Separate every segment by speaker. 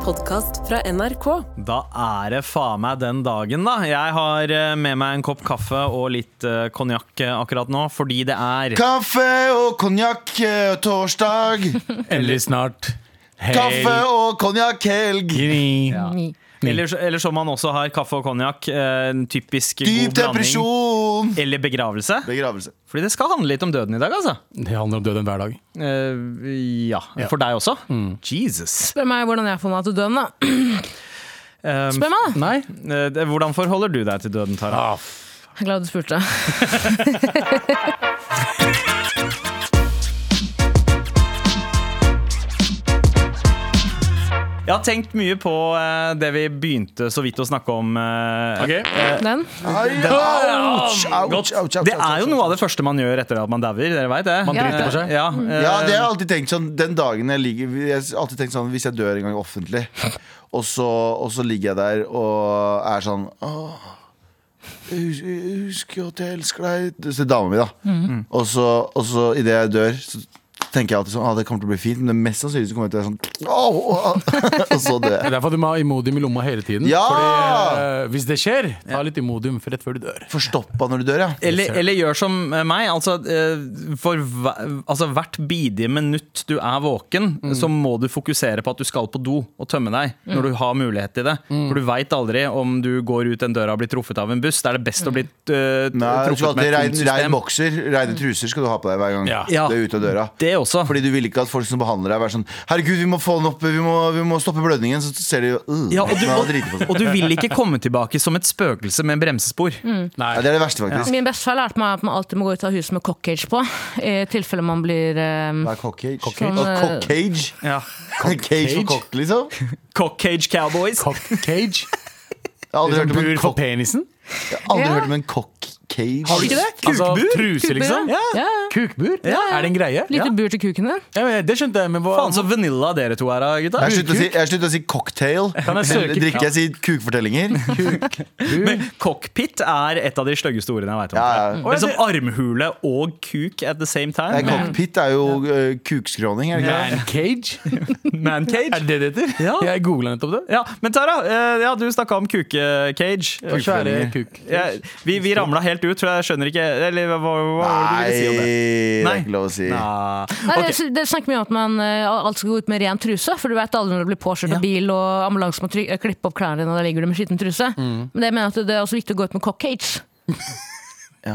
Speaker 1: podkast fra NRK.
Speaker 2: Da er det faen meg den dagen, da. Jeg har eh, med meg en kopp kaffe og litt eh, konjakk eh, akkurat nå, fordi det er
Speaker 3: Kaffe og konjakk eh, torsdag.
Speaker 4: Endelig snart. Hei.
Speaker 3: Kaffe og konjakk helg.
Speaker 4: Gini.
Speaker 2: Eller, eller som man også har kaffe og konjakk. eh, En typisk
Speaker 3: Dyp
Speaker 2: god blanding.
Speaker 3: depresjon.
Speaker 2: Eller begravelse.
Speaker 3: Begravelse.
Speaker 2: Fordi det skal handle litt om døden i dag, altså.
Speaker 4: Det handler om døden hver dag.
Speaker 2: Eh, ja.
Speaker 4: Ja. Mm.
Speaker 2: For deg også. Jesus.
Speaker 1: Spør meg hvordan jeg får meg til døden, da.
Speaker 2: Eh,
Speaker 1: Spør meg, da.
Speaker 4: Nei?
Speaker 2: eh, det- hvordan forholder du deg til døden, Tara?
Speaker 4: Ah, f-
Speaker 1: Jeg er glad du spurte.
Speaker 2: Jeg har tenkt mye på eh, det vi begynte så vidt å snakke om. eh,
Speaker 4: ok.
Speaker 1: Den?
Speaker 3: Ai, ouch, ouch, ouch, ouch,
Speaker 2: Det
Speaker 3: ouch,
Speaker 2: er jo
Speaker 3: ouch.
Speaker 2: noe av det første man gjør etter at man dauer. Dere vet det.
Speaker 4: Man
Speaker 1: Ja.
Speaker 4: driter på seg. Mm.
Speaker 2: Ja, eh,
Speaker 3: Ja, det har jeg alltid tenkt sånn Den dagen jeg ligger Jeg har alltid tenkt sånn Hvis jeg dør en gang offentlig Og så, og så ligger jeg der Og er sånn Åh hus- Husk jo at jeg elsker deg Så det er damen min da
Speaker 2: Mm.
Speaker 3: Og så, og så i det jeg dør Så tenker jeg alltid sånn ah, det kommer til å bli fint Men det mest sannsynlig så kommer jeg til å være sånn Åh Og så dør
Speaker 4: Det
Speaker 3: jeg
Speaker 4: er derfor du må ha Imodium i lomma hele tiden.
Speaker 3: Ja!
Speaker 4: Fordi, eh, hvis det skjer, ta litt Imodium for rett før du dør.
Speaker 3: Forstoppa når du dør, ja
Speaker 2: Eller, eller gjør som meg. Altså, eh, for hva, altså hvert bidige minutt du er våken, så må du fokusere på at du skal på do og tømme deg når du har mulighet til det. For du veit aldri om du går ut den døra og blir truffet av en buss. Da er det best å bli eh,
Speaker 3: Nei, du skal
Speaker 2: truffet med
Speaker 3: alltid
Speaker 2: et tomt
Speaker 3: rein, rein
Speaker 2: system.
Speaker 3: bokser Reine truser skal du ha på deg hver gang
Speaker 4: Ja.
Speaker 2: Ja.
Speaker 3: Du er ute av døra
Speaker 2: Det også.
Speaker 3: Fordi du vil ikke at folk som behandler deg, er sånn Herregud, vi må få den opp, vi må, vi må stoppe blødningen. Så ser de jo uh,
Speaker 2: ja, og, du,
Speaker 3: den har driti på
Speaker 2: og,
Speaker 3: seg.
Speaker 2: og du vil ikke komme tilbake som et spøkelse med bremsespor.
Speaker 4: Nei.
Speaker 3: Ja, det er det verste, faktisk.
Speaker 1: Min bestefar lærte meg at man alltid må gå ut av huset med cockage på, i tilfelle man blir eh,
Speaker 3: Det er cockcage.
Speaker 1: Sånn,
Speaker 3: Og
Speaker 1: eh,
Speaker 3: cockcage.
Speaker 2: Ja.
Speaker 3: Cage for cock, liksom.
Speaker 2: Cock cage cowboys.
Speaker 4: Cock cage.
Speaker 3: Jeg har
Speaker 2: Liksom
Speaker 3: aldri hørt om
Speaker 4: Bur
Speaker 3: en
Speaker 4: for
Speaker 3: cock
Speaker 4: penisen.
Speaker 3: Jeg har aldri
Speaker 1: Ja.
Speaker 3: hørt om en cockcage.
Speaker 2: Har du ikke det?
Speaker 4: Altså
Speaker 2: Kukbur?
Speaker 4: truse, liksom.
Speaker 1: Ja, ja.
Speaker 4: Kukbur? Er det en greie?
Speaker 1: Lite bur til kuken din.
Speaker 4: Ja, men det skjønte jeg, men hva
Speaker 2: Faen så vanilla dere to er, da, gutta.
Speaker 3: Jeg har sluttet å si- jeg har sluttet å si cocktail.
Speaker 4: Kan jeg søke-
Speaker 3: Drikker jeg sier kukfortellinger.
Speaker 2: Men cockpit er et av de styggeste ordene jeg veit om.
Speaker 3: Ja, ja.
Speaker 2: Men som armhule og kuk at the same
Speaker 3: Nei,
Speaker 2: time.
Speaker 3: Cockpit er jo eh, kukskråning, er det ikke det?
Speaker 4: Man cage? Er
Speaker 2: Mancage.
Speaker 4: det det det heter?
Speaker 2: Ja.
Speaker 4: Jeg googla nettopp det.
Speaker 2: Ja, men Tara, eh, ja, du snakka om kukecage.
Speaker 4: Og Svære kuk.
Speaker 2: Jeg- Vi, vi ramla helt ut, for jeg skjønner ikke Eller hva, hva, hva var det du ville si om det?
Speaker 3: Nei, det
Speaker 2: Nei.
Speaker 3: er ikke lov å si.
Speaker 2: Nei.
Speaker 1: Nei,
Speaker 2: Ok.
Speaker 1: dere, dere snakker mye om at man eh, alt skal gå ut med ren truse, for du vet aldri når du blir påkjørt av bil og ambulansen må try klippe opp klærne dine, og da ligger du med skitten truse.
Speaker 2: Mm.
Speaker 1: Men det mener jeg at det er også viktig å gå ut med cockage.
Speaker 3: Ja.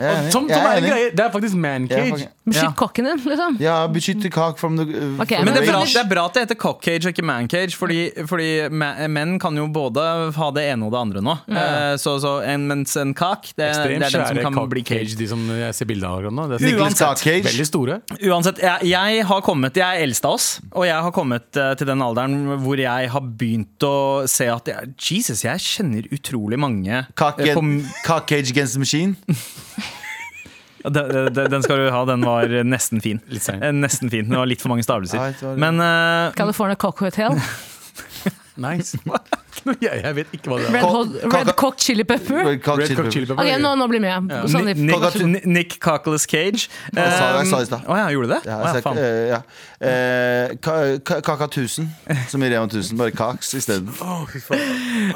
Speaker 3: Jeg er enig.
Speaker 4: Som, som
Speaker 3: Jeg
Speaker 4: er
Speaker 3: er
Speaker 4: en
Speaker 3: enig.
Speaker 4: greie. Det er faktisk man
Speaker 3: Jeg er
Speaker 4: cage.
Speaker 3: faktisk-
Speaker 1: Beskytt
Speaker 2: Ja.
Speaker 1: kokken din, liksom.
Speaker 3: Ja, beskytte kak from the uh,
Speaker 1: Ok,
Speaker 3: from
Speaker 2: Men det er, bra,
Speaker 3: rage.
Speaker 2: det er bra at det heter cockcage og ikke mancage, fordi, fordi ma- menn kan jo både ha det ene og det andre nå. Eh, Så, så en, mens en kak, det, det
Speaker 4: Ekstremt
Speaker 2: er den som
Speaker 4: svære
Speaker 2: kan
Speaker 4: cock
Speaker 2: bli cage.
Speaker 4: cage, de som jeg ser bilde av akkurat nå. Det er
Speaker 3: Nicolas
Speaker 2: Uansett.
Speaker 3: Cockcage.
Speaker 4: veldig store.
Speaker 2: Uansett, jeg, jeg har kommet, jeg er eldst av oss, og jeg har kommet eh, til den alderen hvor jeg har begynt å se at jeg, Jesus, jeg kjenner utrolig mange
Speaker 3: Cock,
Speaker 2: eh, på
Speaker 3: and,
Speaker 2: m-
Speaker 3: cock cage against the machine.
Speaker 2: den, den- den skal du ha, den var nesten fin.
Speaker 4: Litt sein.
Speaker 2: Eh, Nesten fin, det var litt for mange
Speaker 3: Ja,
Speaker 2: stavelser.
Speaker 3: det var det.
Speaker 2: Men eh,
Speaker 1: California Cock Hotel.
Speaker 4: Nice. jeg, jeg vet ikke hva det er.
Speaker 1: Red,
Speaker 3: Cock-
Speaker 1: hot,
Speaker 3: cock-
Speaker 1: red Cock Chili Pepper.
Speaker 3: Red cock
Speaker 4: Red
Speaker 3: chili
Speaker 4: Cock
Speaker 3: pepper.
Speaker 4: Chili Pepper.
Speaker 1: Ok, nå, nå blir Sånn jeg med.
Speaker 2: Ni-
Speaker 1: Sandeep.
Speaker 2: Nick,
Speaker 3: Cockatoo.
Speaker 2: Ni- Nick Cockless Cage.
Speaker 3: Jeg sa det, jeg sa det i stad.
Speaker 2: Eh, Å ja, gjorde du det? Å,
Speaker 3: Ja,
Speaker 2: ja,
Speaker 3: altså,
Speaker 2: faen.
Speaker 3: eh, ja. Eh, ka- ka- Kaka 1000, som i Rema 1000. Bare Kaks isteden.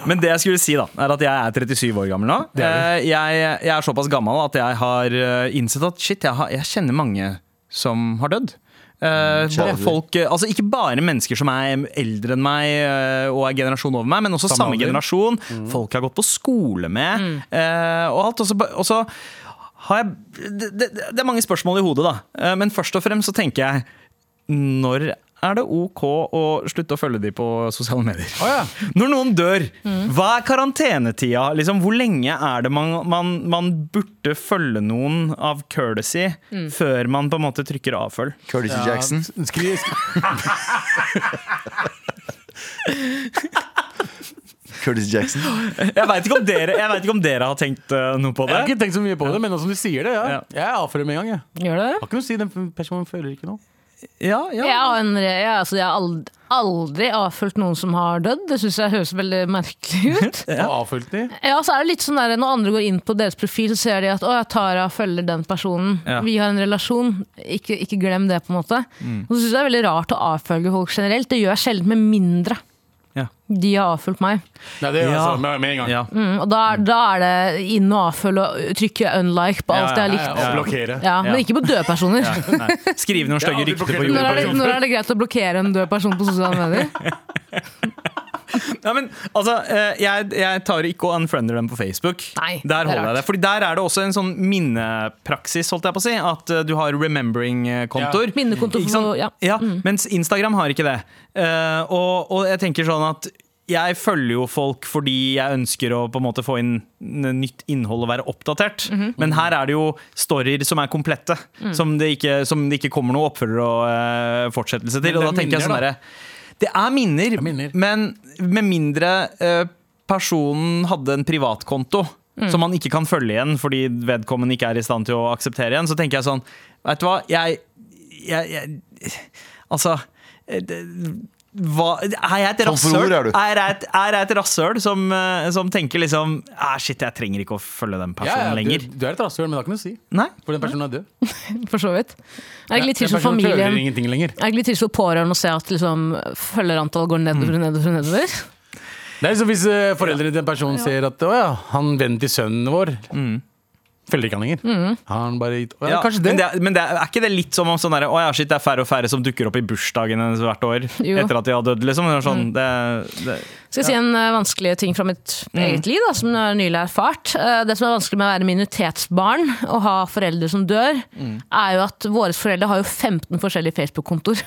Speaker 2: Men det jeg skulle si da, er at jeg er 37 år gammel nå.
Speaker 4: Det er
Speaker 2: Eh, Jeg, jeg er såpass gammel at jeg har eh, innsett at shit, jeg, har, jeg kjenner mange som har dødd.
Speaker 4: Mm,
Speaker 2: Eh,
Speaker 3: kjære du.
Speaker 2: folk, eh, altså ikke bare mennesker som er eldre enn meg eh, og er generasjon over meg, men også samme,
Speaker 4: Samme alder.
Speaker 2: generasjon. Folk jeg har gått på skole med eh, og alt. Og så, ba- og så har jeg det, det, det er mange spørsmål i hodet, da. Eh, men først og fremst så tenker jeg når er det OK å slutte å følge de på sosiale medier? Når noen dør, hva er karantenetida? Liksom, hvor lenge er det man, man, man burde følge noen av courtesy før man på en måte trykker avfølg?
Speaker 3: Curtis Jackson.
Speaker 4: Skri, skri.
Speaker 3: Curtis Jackson.
Speaker 2: Jeg veit ikke, om dere- jeg vet ikke om dere har tenkt eh, noe på
Speaker 4: Jeg har
Speaker 2: det.
Speaker 4: ikke tenkt så mye på det, men nå som du sier det,
Speaker 2: Ja.
Speaker 4: ja. Jeg avfører med en gang, jeg.
Speaker 1: Gjør du det?
Speaker 4: Har ikke noe å si, den personen føler ikke noe.
Speaker 2: Ja, ja.
Speaker 1: Jeg har, en, jeg, altså, jeg har aldri, aldri avfølt noen som har dødd. Det syns jeg høres veldig merkelig ut.
Speaker 4: Og avfølt de.
Speaker 1: Ja, så er det litt sånn der, Når andre går inn på deres profil, så ser de at 'Å, ja, Tara følger den personen.
Speaker 2: Ja.
Speaker 1: Vi har en relasjon. Ikke, ikke glem det.' på en måte Og så syns jeg det er veldig rart å avfølge folk generelt. Det gjør jeg sjelden, med mindre
Speaker 2: Ja.
Speaker 1: De har avfulgt meg.
Speaker 4: Nei, det er
Speaker 2: Ja.
Speaker 4: altså med, med en gang.
Speaker 2: Ja.
Speaker 1: Mm, og da, er- da er det inn og avfølge og trykke unlike på alt jeg har likt.
Speaker 4: Ja, og blokkere.
Speaker 1: Ja, men ikke på døde personer.
Speaker 2: Nei. Skrive noen stygge
Speaker 4: Ja, de
Speaker 2: rykter
Speaker 4: blokkerer
Speaker 2: på sånn.
Speaker 1: Når er,
Speaker 2: jorda.
Speaker 1: det, når er det greit å blokkere en død person på sosiale medier?
Speaker 2: Ja, men, altså, eh, jeg, jeg tar ikke og unfriender dem på Facebook.
Speaker 1: Nei,
Speaker 2: der
Speaker 1: det er
Speaker 2: holder jeg det. Fordi der er det også en sånn minnepraksis, holdt jeg på å si. At eh, du har eh, remembering-kontoer.
Speaker 1: Minnekonto
Speaker 2: Ikke sant?
Speaker 1: for- ja. Mm.
Speaker 2: Ja, Mens Instagram har ikke det. Eh, og, og jeg tenker sånn at jeg følger jo folk fordi jeg ønsker å på en måte få inn n- nytt innhold og være oppdatert.
Speaker 1: Mhm.
Speaker 2: Men her er det jo storyer som er komplette.
Speaker 1: Mm.
Speaker 2: Som, det ikke, som det ikke kommer noe oppfølger og eh, fortsettelse til.
Speaker 4: Men
Speaker 2: Og
Speaker 4: det
Speaker 2: da
Speaker 4: er
Speaker 2: tenker jeg
Speaker 4: minner,
Speaker 2: sånn
Speaker 4: da.
Speaker 2: derre det er minner,
Speaker 4: minner.
Speaker 2: men med mindre eh, personen hadde en privatkonto som man ikke kan følge igjen fordi vedkommende ikke er i stand til å akseptere igjen, så tenker jeg sånn Vet du hva, jeg, jeg, jeg Altså eh, det- hva, er jeg et
Speaker 3: Tom for
Speaker 2: rasshøl?
Speaker 3: ord er du.
Speaker 2: Er jeg et, er jeg et rasshøl som, eh, som tenker liksom «Ah, Shit, jeg trenger ikke å følge den
Speaker 4: Ja,
Speaker 2: personen
Speaker 4: ja,
Speaker 2: lenger.
Speaker 4: Du, du er et rasshøl, men det har ikke noe å si.
Speaker 2: Nei?
Speaker 4: For den personen er død.
Speaker 1: For så vidt. Er det ikke litt trist
Speaker 4: Den
Speaker 1: for
Speaker 4: personen føler
Speaker 1: familien
Speaker 4: ingenting lenger.
Speaker 1: er det ikke litt trist for pårørende å se at liksom, følgerantall går
Speaker 4: Mm.
Speaker 1: nedover og nedover? og nedover?
Speaker 4: Det er som hvis eh, foreldrene til en person ser at å ja, han vennen til sønnen vår følger ikke han lenger.
Speaker 1: Mm.
Speaker 4: Har han bare gitt Å ja,
Speaker 2: Ja,
Speaker 4: kanskje det.
Speaker 2: Men, det er, men det er, er ikke det litt som om sånn der, «Å ja, shit, det er færre og færre som dukker opp i bursdagen hennes hvert år
Speaker 1: Jo.
Speaker 2: etter at de har dødd? Liksom. Det er
Speaker 4: Mm.
Speaker 2: Sånn, det, det,
Speaker 1: Skal jeg si en eh, vanskelig ting fra mitt
Speaker 4: Mm.
Speaker 1: eget liv, da, som jeg nylig har erfart. Eh, det som er vanskelig med å være minoritetsbarn og ha foreldre som dør,
Speaker 4: Mm.
Speaker 1: er jo at våre foreldre har jo 15 forskjellige Facebook-kontoer.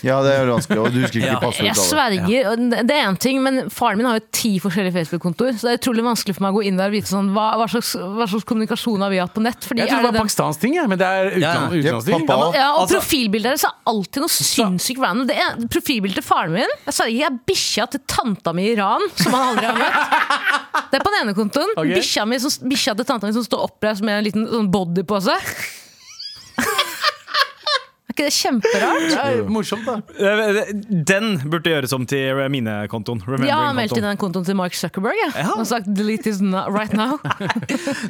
Speaker 3: Ja, det er veldig vanskelig. Og du husker ikke passordet
Speaker 1: Jeg
Speaker 3: til alle.
Speaker 1: sverger. og Det det er én ting, men faren min har jo ti forskjellige Facebook-kontoer, så det er utrolig vanskelig for meg å gå inn der og vite sånn, hva, hva, slags, hva slags kommunikasjon har vi hatt på nett? Fordi
Speaker 4: Jeg tror
Speaker 1: er
Speaker 4: det var
Speaker 1: den-
Speaker 4: pakistansk ting, jeg, men det er utenland-
Speaker 3: Ja,
Speaker 4: utenlandsting.
Speaker 3: pappa.
Speaker 4: Ja, men-
Speaker 1: Ja, og
Speaker 2: Altså-
Speaker 1: profilbildet deres er alltid noe sinnssykt random. Det er profilbildet til faren min. Jeg sa ikke jeg er bikkja til tanta mi i Iran, som han aldri har møtt. Det er på den ene kontoen.
Speaker 4: Ok.
Speaker 1: Bikkja, mi som, bikkja til tanta mi som står oppreist med en liten sånn body på seg. Er ikke det kjemperart?
Speaker 4: Det er morsomt, da.
Speaker 2: den burde gjøres om til minnekontoen.
Speaker 1: Jeg har meldt
Speaker 2: remembering-kontoen.
Speaker 1: inn den kontoen til Mark Zuckerberg. Jeg.
Speaker 2: Ja.
Speaker 1: Han har sagt 'delete this no- right now'.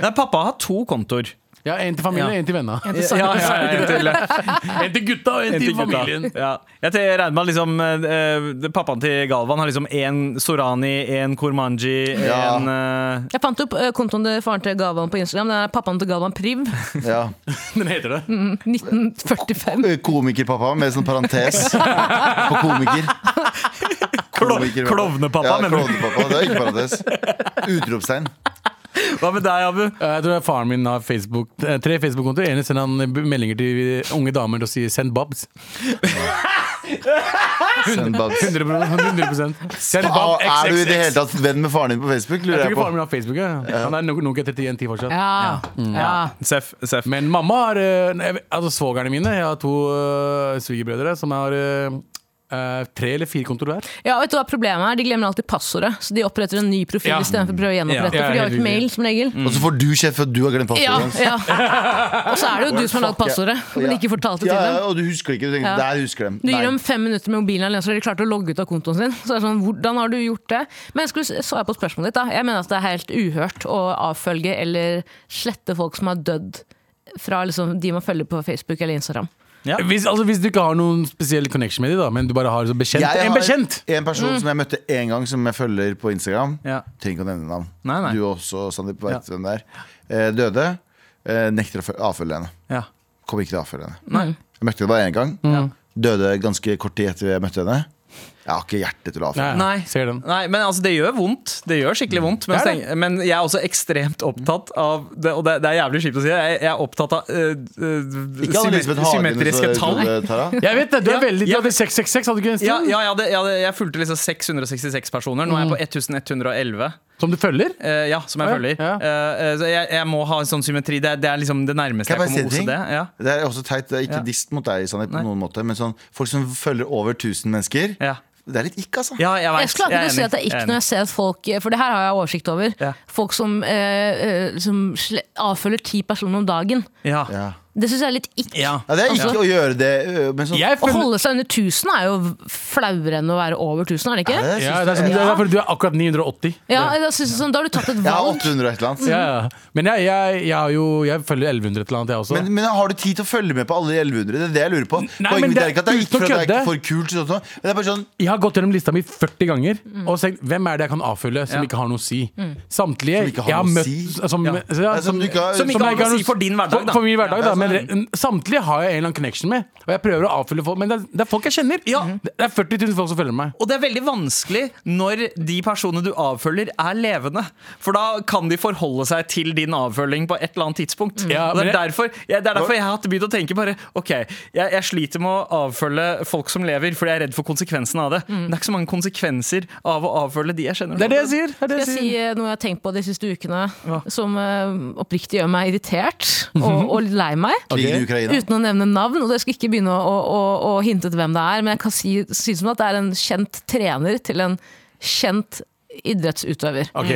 Speaker 2: Nei, pappa har to kontoer.
Speaker 4: Ja, En til familien,
Speaker 2: Ja.
Speaker 4: en til venna.
Speaker 1: til Sara.
Speaker 2: en til,
Speaker 4: En til gutta og en
Speaker 2: en til
Speaker 4: til
Speaker 2: gutta.
Speaker 4: familien.
Speaker 2: Ja. Jeg tenker- jeg regner med at liksom, eh, eh, pappaen til Galvan har liksom én Sorani, én Kormanji, én
Speaker 3: Ja.
Speaker 2: eh,
Speaker 1: Jeg fant opp eh, kontoen til faren til Galvan på Instagram. Den er pappaen til Galvan Priv.
Speaker 3: Ja. Eh,
Speaker 4: Den heter det.
Speaker 1: 1945.
Speaker 3: Komikerpappa med sånn parentes på komiker. Komiker, pappa.
Speaker 2: klovnepappa,
Speaker 3: ja,
Speaker 2: mener du?
Speaker 3: Klovnepappa, det er ikke parentes. Utropstegn.
Speaker 2: Hva med deg, Abu?
Speaker 4: Jeg tror faren min har Facebook, eh, tre Facebook-kontoer. Den ene sender han b- meldinger til unge damer og sier 'send babs'.
Speaker 3: Send babs.
Speaker 4: 100, 100 Send
Speaker 3: Ah,
Speaker 4: bab
Speaker 3: Er du i det hele
Speaker 4: xxx.
Speaker 3: tatt venn med faren din på Facebook?
Speaker 4: Jeg
Speaker 3: Lurer
Speaker 4: tror
Speaker 3: jeg
Speaker 4: ikke
Speaker 3: på.
Speaker 4: faren min har Facebook. Ja. Han er nok- Nokia 3110 fortsatt.
Speaker 1: Ja. ja.
Speaker 2: Seff. Seff.
Speaker 4: Men mamma har eh, nei, jeg vet- Altså svogerne mine Jeg har to eh, svigerbrødre som har eh, eh, tre eller fire kontor hver.
Speaker 1: Ja, vet du hva problemet er? De glemmer alltid passordet. Så de oppretter en ny profil
Speaker 4: Ja.
Speaker 1: istedenfor å prøve å gjenopprette.
Speaker 4: Ja, Mm.
Speaker 1: for de har jo ikke
Speaker 4: helt
Speaker 1: mail, som regel.
Speaker 3: Og så får du kjeft for at du har glemt passordet.
Speaker 1: Ja,
Speaker 3: hans.
Speaker 1: ja. Og så er det jo du som har lagd passordet, men ikke fortalt det
Speaker 3: Ja,
Speaker 1: til
Speaker 3: ja,
Speaker 1: dem.
Speaker 3: og du husker det ikke. Du tenker,
Speaker 1: Ja.
Speaker 3: Der husker de.
Speaker 1: Du gir
Speaker 3: Nei.
Speaker 1: dem fem minutter med mobilen alene, så har de klart å logge ut av kontoen sin. Så det er sånn, hvordan har du gjort det? Men jeg skulle, så jeg på spørsmålet ditt, da. Jeg mener at det er helt uhørt å avfølge eller slette folk som har dødd fra liksom, de man følger på Facebook eller Instagram.
Speaker 2: Ja.
Speaker 4: Hvis, altså, hvis du ikke har noen spesiell connection med dem, da, men du bare har så bekjent
Speaker 3: Jeg
Speaker 4: En
Speaker 3: har
Speaker 4: bekjent!
Speaker 3: en
Speaker 1: Mm.
Speaker 3: person som jeg møtte én gang, som jeg følger på Instagram.
Speaker 2: Ja.
Speaker 3: Trenger ikke å nevne navn.
Speaker 2: Nei, nei.
Speaker 3: Du også, Sandeep, vet hvem det er. Eh, døde. Eh, nekter å fø- avfølge henne.
Speaker 2: Ja.
Speaker 3: Kom ikke til å avfølge henne. Jeg møtte henne bare én gang. Døde ganske kort tid etter jeg møtte henne. Jeg har ikke hjerte til å avfølge.
Speaker 4: Ja,
Speaker 2: Nei.
Speaker 4: Ser den.
Speaker 2: Nei, men altså, det gjør vondt. Det gjør skikkelig vondt. Men,
Speaker 4: Det er det.
Speaker 2: steng- men jeg er også ekstremt opptatt av det, Og det, det er jævlig kjipt å si det. Jeg, jeg er opptatt av øh, øh,
Speaker 3: Ikke alle
Speaker 2: symmet-
Speaker 3: Elisabeth Hagen,
Speaker 2: symmetriske
Speaker 3: så-
Speaker 2: tall.
Speaker 3: Tara.
Speaker 4: Jeg vet det! Du er
Speaker 2: Ja,
Speaker 4: veldig Du
Speaker 2: ja.
Speaker 4: hadde 666, hadde du ikke en
Speaker 2: Ja,
Speaker 4: stund?
Speaker 2: ja, jeg, hadde, jeg, hadde, jeg fulgte liksom 666 personer. Nå er
Speaker 3: Mm.
Speaker 2: jeg på 1111.
Speaker 4: Som du følger?
Speaker 2: eh, ja, som jeg
Speaker 4: Ja,
Speaker 2: følger.
Speaker 4: ja.
Speaker 2: Eh, eh, så jeg, jeg må ha en sånn symmetri. Det, er- det er liksom det nærmeste
Speaker 3: Kan
Speaker 2: jeg
Speaker 3: jeg bare
Speaker 2: kommer
Speaker 3: si en
Speaker 2: OCD.
Speaker 3: ting?
Speaker 2: Ja.
Speaker 3: Det er også teit. Det er ikke
Speaker 2: Ja.
Speaker 3: dist mot deg, Sandeep, på
Speaker 2: Nei.
Speaker 3: noen måte. Men sånn, folk som følger over 1000 mennesker,
Speaker 2: Ja.
Speaker 3: det er litt ikke, altså.
Speaker 2: Ja, jeg vet.
Speaker 1: Jeg skulle
Speaker 2: er
Speaker 1: akkurat si
Speaker 2: enig.
Speaker 1: at det er
Speaker 2: Jeg
Speaker 1: ikke
Speaker 2: er
Speaker 1: når
Speaker 2: enig.
Speaker 1: jeg ser at folk For det her har jeg oversikt over.
Speaker 2: Ja.
Speaker 1: Folk som, eh, eh, som sle- avfølger ti personer om dagen.
Speaker 2: ja.
Speaker 3: Ja.
Speaker 1: Det syns jeg er litt ikk.
Speaker 2: Ja.
Speaker 3: Ja, det er ikke
Speaker 1: Altså-
Speaker 3: å gjøre det øh, men sånn,
Speaker 4: Jeg
Speaker 1: Å
Speaker 4: føler
Speaker 1: holde seg under 1000 er jo flauere enn å være over 1000, er det
Speaker 3: Ja,
Speaker 1: ikke?
Speaker 3: jeg
Speaker 4: ja,
Speaker 3: synes
Speaker 4: det er, sånn,
Speaker 3: det-
Speaker 4: det er fordi du er akkurat 980.
Speaker 1: Ja, jeg synes sånn, Da har du tatt et
Speaker 3: Jeg har
Speaker 1: valg.
Speaker 3: 800 og et eller annet.
Speaker 4: Ja, ja. Men jeg, jeg, jeg, har jo, jeg følger 1100 et eller annet, jeg også.
Speaker 3: Men, men har du tid til å følge med på alle de 1100? Det er det jeg lurer på.
Speaker 4: men
Speaker 3: Poenget mitt
Speaker 4: det
Speaker 3: er ikke at det er
Speaker 4: er
Speaker 3: ikke for at det er
Speaker 4: uten å
Speaker 3: ikke for kult, sånn, sånn. men det er bare sånn
Speaker 4: jeg har gått gjennom lista mi 40 ganger og tenkt hvem er det jeg kan avfølge som
Speaker 2: Ja.
Speaker 4: ikke har noe å si. Samtlige
Speaker 3: Som ikke har
Speaker 4: jeg
Speaker 3: noe
Speaker 4: har
Speaker 3: å
Speaker 4: møtt
Speaker 3: si?
Speaker 4: Som,
Speaker 2: Ja.
Speaker 4: så ja,
Speaker 3: Nei, som du ikke har-
Speaker 2: Som ikke
Speaker 4: jeg
Speaker 2: har noe å si for din hverdag,
Speaker 4: for-
Speaker 2: da.
Speaker 4: For min hverdag,
Speaker 2: Ja,
Speaker 4: da.
Speaker 2: det
Speaker 4: Men
Speaker 2: er
Speaker 4: re- samtlige har jeg en eller annen connection med. Og jeg prøver å avfølge folk, men det er, det er folk jeg kjenner.
Speaker 2: Ja.
Speaker 4: Det er 40 000 folk som følger meg.
Speaker 2: Og det er veldig vanskelig når de personene du avfølger, er levende. For da kan de forholde seg til din avfølging på et eller annet tidspunkt.
Speaker 4: Ja,
Speaker 2: Og det,
Speaker 4: men
Speaker 2: er
Speaker 4: jeg-
Speaker 2: derfor, ja, det er derfor jeg har begynt å tenke bare Ok, jeg, jeg sliter med å avfølge folk som lever, fordi jeg er redd for konsekvensen av det. Men det er ikke så mange konsekvenser av å avfølge de jeg kjenner.
Speaker 4: Mm. Det er det jeg sier. Det er det
Speaker 1: Skal
Speaker 4: jeg
Speaker 1: jeg si
Speaker 4: sier.
Speaker 1: eh, noe jeg har tenkt på de siste ukene som eh, oppriktig gjør meg irritert og, og lei meg?
Speaker 3: krigen i Ukraina.
Speaker 1: Uten å nevne navn, og jeg skal ikke begynne å, å, å, å hinte til hvem det er, men jeg kan si, si som at det er en kjent trener til en kjent idrettsutøver.
Speaker 4: Ok,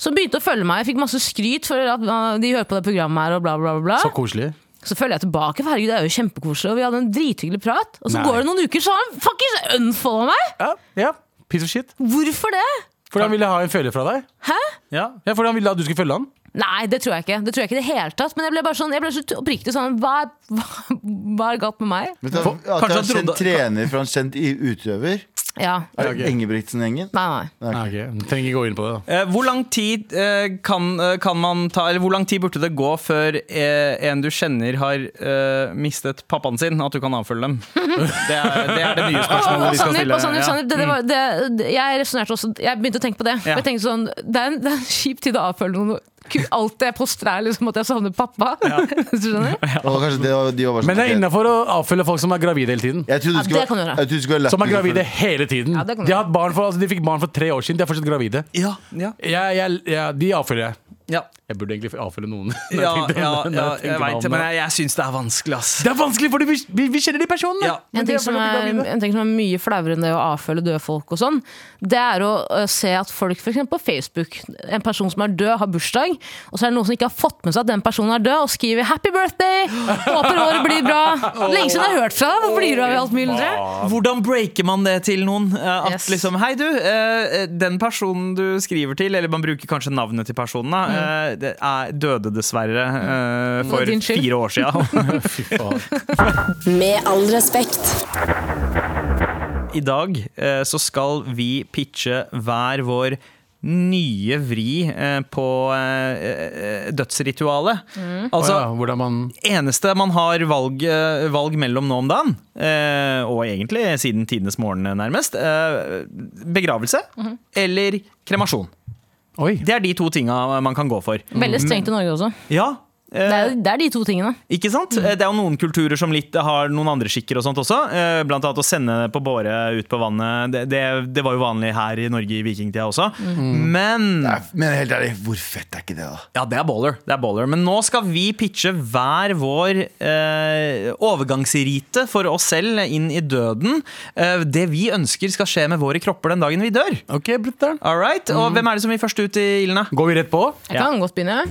Speaker 1: Som begynte å følge meg. Jeg fikk masse skryt for at ah, de hører på det programmet her og bla, bla, bla. bla.
Speaker 4: Så koselig.
Speaker 1: Så følger jeg tilbake, for herregud, det er jo kjempekoselig, og vi hadde en drithyggelig prat. Og så
Speaker 4: Nei.
Speaker 1: går det noen uker, så har han fuckings unfollowa meg!
Speaker 4: Ja, Ah. ja. Piece of shit.
Speaker 1: Hvorfor det?
Speaker 4: Hvordan ville jeg ha en følger fra deg?
Speaker 1: Hæ?
Speaker 2: Ja.
Speaker 4: Ja, hvordan ville jeg at du skulle følge han?
Speaker 1: Nei, det tror jeg ikke. Det tror jeg ikke i det hele tatt. Men jeg ble bare sånn, jeg ble så oppriktig sånn Hva, hva, hva er galt med meg?
Speaker 3: Vet du,
Speaker 2: For-
Speaker 3: At
Speaker 2: kanskje
Speaker 3: det er
Speaker 2: han
Speaker 3: en kjent
Speaker 2: trodde-
Speaker 3: trener fra en kjent i- utøver?
Speaker 1: Ja.
Speaker 3: Er
Speaker 4: ok.
Speaker 3: det Engebrigtsen-gjengen?
Speaker 1: Nei, nei.
Speaker 4: Nei, ok. Trenger ikke gå inn på det, da.
Speaker 2: Eh, Hvor lang tid eh, kan, eh, kan man ta Eller hvor lang tid burde det gå før eh, en du kjenner har eh, mistet pappaen sin, at du kan avfølge dem? Det er det, er det nye
Speaker 1: Og,
Speaker 2: spørsmålet
Speaker 1: og
Speaker 2: vi skal
Speaker 1: Sandeep,
Speaker 2: stille.
Speaker 1: og
Speaker 2: ja.
Speaker 1: Sandeep,
Speaker 2: Mm.
Speaker 1: Sandeep, det, det var, det, det- jeg resonnerte også Jeg begynte å tenke på det.
Speaker 2: Ja.
Speaker 1: For Jeg tenkte sånn, Det er en, det er en kjip tid å avfølge noen. Alt det jeg poster, er liksom at jeg savner pappa. Hvis du skjønner?
Speaker 3: Og kanskje det var, de var bare sånn,
Speaker 4: Men det er
Speaker 3: ok.
Speaker 4: innafor å avfølge folk som er gravide hele tiden.
Speaker 3: Jeg trodde
Speaker 1: Ja,
Speaker 3: du skulle,
Speaker 1: det kan du gjøre.
Speaker 3: jeg trodde du skulle være
Speaker 4: Som er
Speaker 3: lættis
Speaker 4: gravide
Speaker 3: for-
Speaker 4: hele tiden.
Speaker 1: Ja, det kan
Speaker 4: de,
Speaker 1: du.
Speaker 4: har hatt barn for, altså, de fikk barn for tre år siden, de er fortsatt gravide.
Speaker 2: Ja, ja,
Speaker 4: Jeg, jeg, jeg, de avfølger jeg.
Speaker 2: ja,
Speaker 4: Jeg burde egentlig avfølge noen. Når
Speaker 2: ja,
Speaker 4: tenkte-
Speaker 2: ja,
Speaker 4: når
Speaker 2: ja,
Speaker 4: tenkte
Speaker 2: jeg
Speaker 4: meg
Speaker 2: veit
Speaker 4: om
Speaker 2: det, men
Speaker 4: det.
Speaker 2: jeg, jeg syns det er vanskelig, ass.
Speaker 4: det er vanskelig, for vi, vi, vi kjenner de personene!
Speaker 2: Ja.
Speaker 4: Men
Speaker 1: En ting,
Speaker 4: de
Speaker 1: som
Speaker 4: følger
Speaker 1: er,
Speaker 4: de gravide.
Speaker 1: en ting som er mye flauere enn det å avfølge døde folk og sånn, det er å ø, se at folk f.eks. på Facebook, en person som er død, har bursdag, og så er det noen som ikke har fått med seg at den personen er død, og skriver 'happy birthday', 'håper året blir bra'. Lenge siden jeg har hørt fra deg, hvor blir du av i alt mylderet?
Speaker 2: Hvordan breaker man det til noen? Eh, At
Speaker 1: Yes.
Speaker 2: liksom, Hei, du. eh, Den personen du skriver til, eller man bruker kanskje navnet til personen,
Speaker 1: Mm.
Speaker 2: da, eh, det er døde dessverre eh, for
Speaker 1: din skyld.
Speaker 2: fire år siden.
Speaker 4: Fy faen.
Speaker 5: Med all respekt.
Speaker 2: I dag eh, så skal vi pitche hver vår nye vri eh, på eh, eh, dødsritualet.
Speaker 4: Å
Speaker 2: Altså,
Speaker 4: ja, hvordan man
Speaker 2: eneste man har valg, eh, valg mellom nå om dagen, eh, og egentlig siden tidenes morgen eh, nærmest, eh, begravelse eller kremasjon.
Speaker 4: Oi.
Speaker 2: Det er de to tinga man kan gå for.
Speaker 1: Veldig strengt i Norge også.
Speaker 2: Ja, eh,
Speaker 1: Det er, det er de to tingene.
Speaker 2: ikke sant? Eh, Det er jo noen kulturer som litt har noen andre skikker og sånt også. eh, Blant annet å sende på båre ut på vannet. Det, det, det var jo vanlig her i Norge i vikingtida også. Men
Speaker 3: Nei, Men helt ærlig, hvor fett er ikke det, da?
Speaker 2: Ja, det er baller. Det er baller. Men nå skal vi pitche hver vår eh, overgangsrite for oss selv inn i døden. Eh, det vi ønsker skal skje med våre kropper den dagen vi dør.
Speaker 4: Ok, brutter'n.
Speaker 2: All right? Og hvem er det som vil først ut i ilden? da?
Speaker 4: Går vi rett på?
Speaker 1: Jeg kan godt begynne.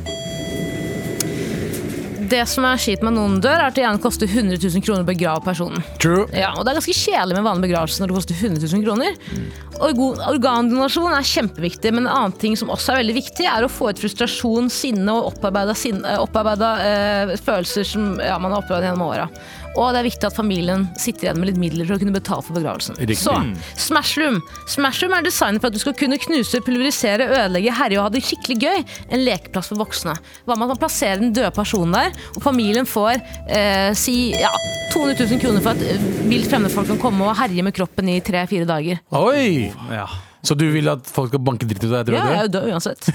Speaker 1: Det som er kjipt med noen dør, er at det gjerne koster 100 000 kroner å begrave personen.
Speaker 4: True.
Speaker 1: Ja, og Det er ganske kjedelig med vanlig begravelse når det koster 100 000 kroner. Orgo- Organdonasjon er kjempeviktig, men en annen ting som også er veldig viktig, er å få ut frustrasjon, sinne og opparbeida, sin- eh, opparbeida eh, følelser som ja, man har opparbeida gjennom åra. Og det er viktig at familien sitter igjen med litt midler for å kunne betale for begravelsen.
Speaker 4: Riktig. Mm.
Speaker 1: Så, Smashroom. Smashroom er designet for at du skal kunne knuse, pulverisere, ødelegge, herje og ha det skikkelig gøy. En lekeplass for voksne. Hva med at man plasserer den døde personen der, og familien får eh, si ja, 200 000 kroner for at eh, vilt fremmede folk kan komme og herje med kroppen i tre-fire dager.
Speaker 4: Oi!
Speaker 2: Ja.
Speaker 4: Så du vil at folk skal banke dritt ut av deg?
Speaker 1: Ja, jeg
Speaker 4: Ja,
Speaker 1: er jo død uansett.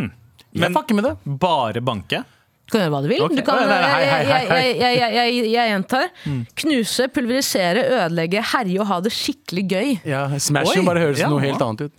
Speaker 4: jeg fucker med det.
Speaker 2: Bare banke?
Speaker 1: Du kan gjøre hva du vil.
Speaker 4: Ok.
Speaker 1: Du kan,
Speaker 4: Å, ja, nei, hei, hei,
Speaker 1: jeg,
Speaker 4: hei, Mm.
Speaker 1: jeg, jeg, jeg, jeg, jeg gjentar. Knuse, pulverisere, ødelegge, herje og ha det skikkelig gøy.
Speaker 4: Ja, Smash jo
Speaker 2: Oi.
Speaker 4: bare høres
Speaker 2: Ja.
Speaker 4: noe helt annet ut.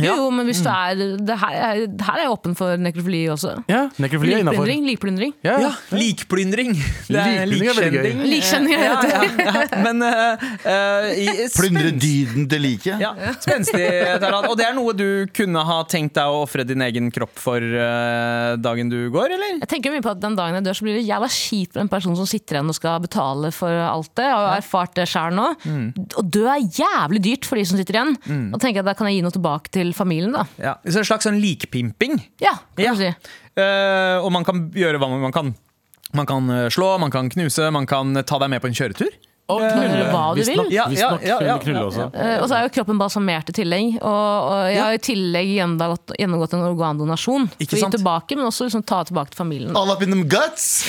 Speaker 2: Ja.
Speaker 1: Jo, men hvis
Speaker 4: Mm.
Speaker 1: du er det her, er det her er jeg åpen for nekrofili også.
Speaker 4: Ja, nekrofili er innafor.
Speaker 1: Likplyndring. likplyndring.
Speaker 4: Ja,
Speaker 2: Ja,
Speaker 4: ja.
Speaker 2: likplyndring. Det er
Speaker 4: Likplyndring er veldig gøy.
Speaker 2: likskjending.
Speaker 1: Likskjending,
Speaker 2: ja,
Speaker 1: jeg
Speaker 2: ja, ja. Men eh, eh, i-
Speaker 3: Plyndre
Speaker 2: spenst-
Speaker 3: dyden til like.
Speaker 2: Ja, Spenstig, Taran. Og det er noe du kunne ha tenkt deg å ofre din egen kropp for eh, dagen du går, eller?
Speaker 1: Jeg tenker mye på at Den dagen jeg dør, så blir det jævla kjipt for den personen som sitter igjen og skal betale for alt det. Jeg har jo erfart det sjøl nå.
Speaker 4: Mm.
Speaker 1: Og dø er jævlig dyrt for de som sitter igjen. Og tenker jeg at Da kan jeg gi noe tilbake til familien, da.
Speaker 2: Ja. Så en slags sånn likpimping.
Speaker 1: Ja, kan
Speaker 2: Ja.
Speaker 1: du si.
Speaker 2: Eh, og man kan gjøre hva man kan. Man kan eh, slå, man kan knuse, man kan ta deg med på en kjøretur.
Speaker 4: Og
Speaker 1: Knulle hva du vil.
Speaker 2: Ja, ja,
Speaker 4: Visstnok
Speaker 2: ja, ja,
Speaker 4: knulle
Speaker 2: ja.
Speaker 4: også.
Speaker 1: Eh, Og så er jo kroppen balsamert i tillegg. Og, og jeg har i tillegg gjennomgått, gjennomgått en organdonasjon.
Speaker 2: Ikke
Speaker 1: For å
Speaker 2: sant?
Speaker 1: gi tilbake, men også liksom ta tilbake til familien.
Speaker 3: All up in them guts!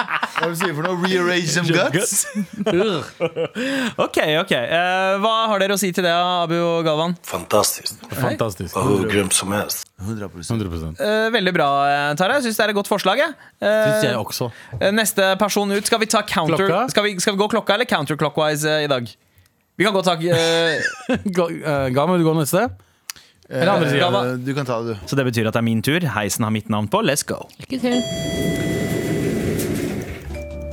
Speaker 3: Hva er det du sier for noe? Rearrange them guts?
Speaker 2: Ok, ok. Eh, hva har dere å si til det, Abu og Galvan?
Speaker 6: Fantastisk.
Speaker 4: Fantastisk.
Speaker 6: Og hvor grymt som helst.
Speaker 3: 100%
Speaker 4: 100
Speaker 2: Eh, veldig bra, eh, Tara. Jeg syns det er et godt forslag. Jeg. Eh,
Speaker 4: Syns jeg også.
Speaker 2: eh, Neste person ut. Skal vi ta counter
Speaker 4: Klokka?
Speaker 2: skal vi, skal vi gå klokka eller counterclockwise eh, i dag? Vi kan godt ta eh,
Speaker 4: Ga, eh, Gav, vil du gå neste? Eller andre siden.
Speaker 3: Eh, Du kan ta det, du.
Speaker 2: Så det betyr at det er min tur. Heisen har mitt navn på. Let's go.
Speaker 1: Lykke til.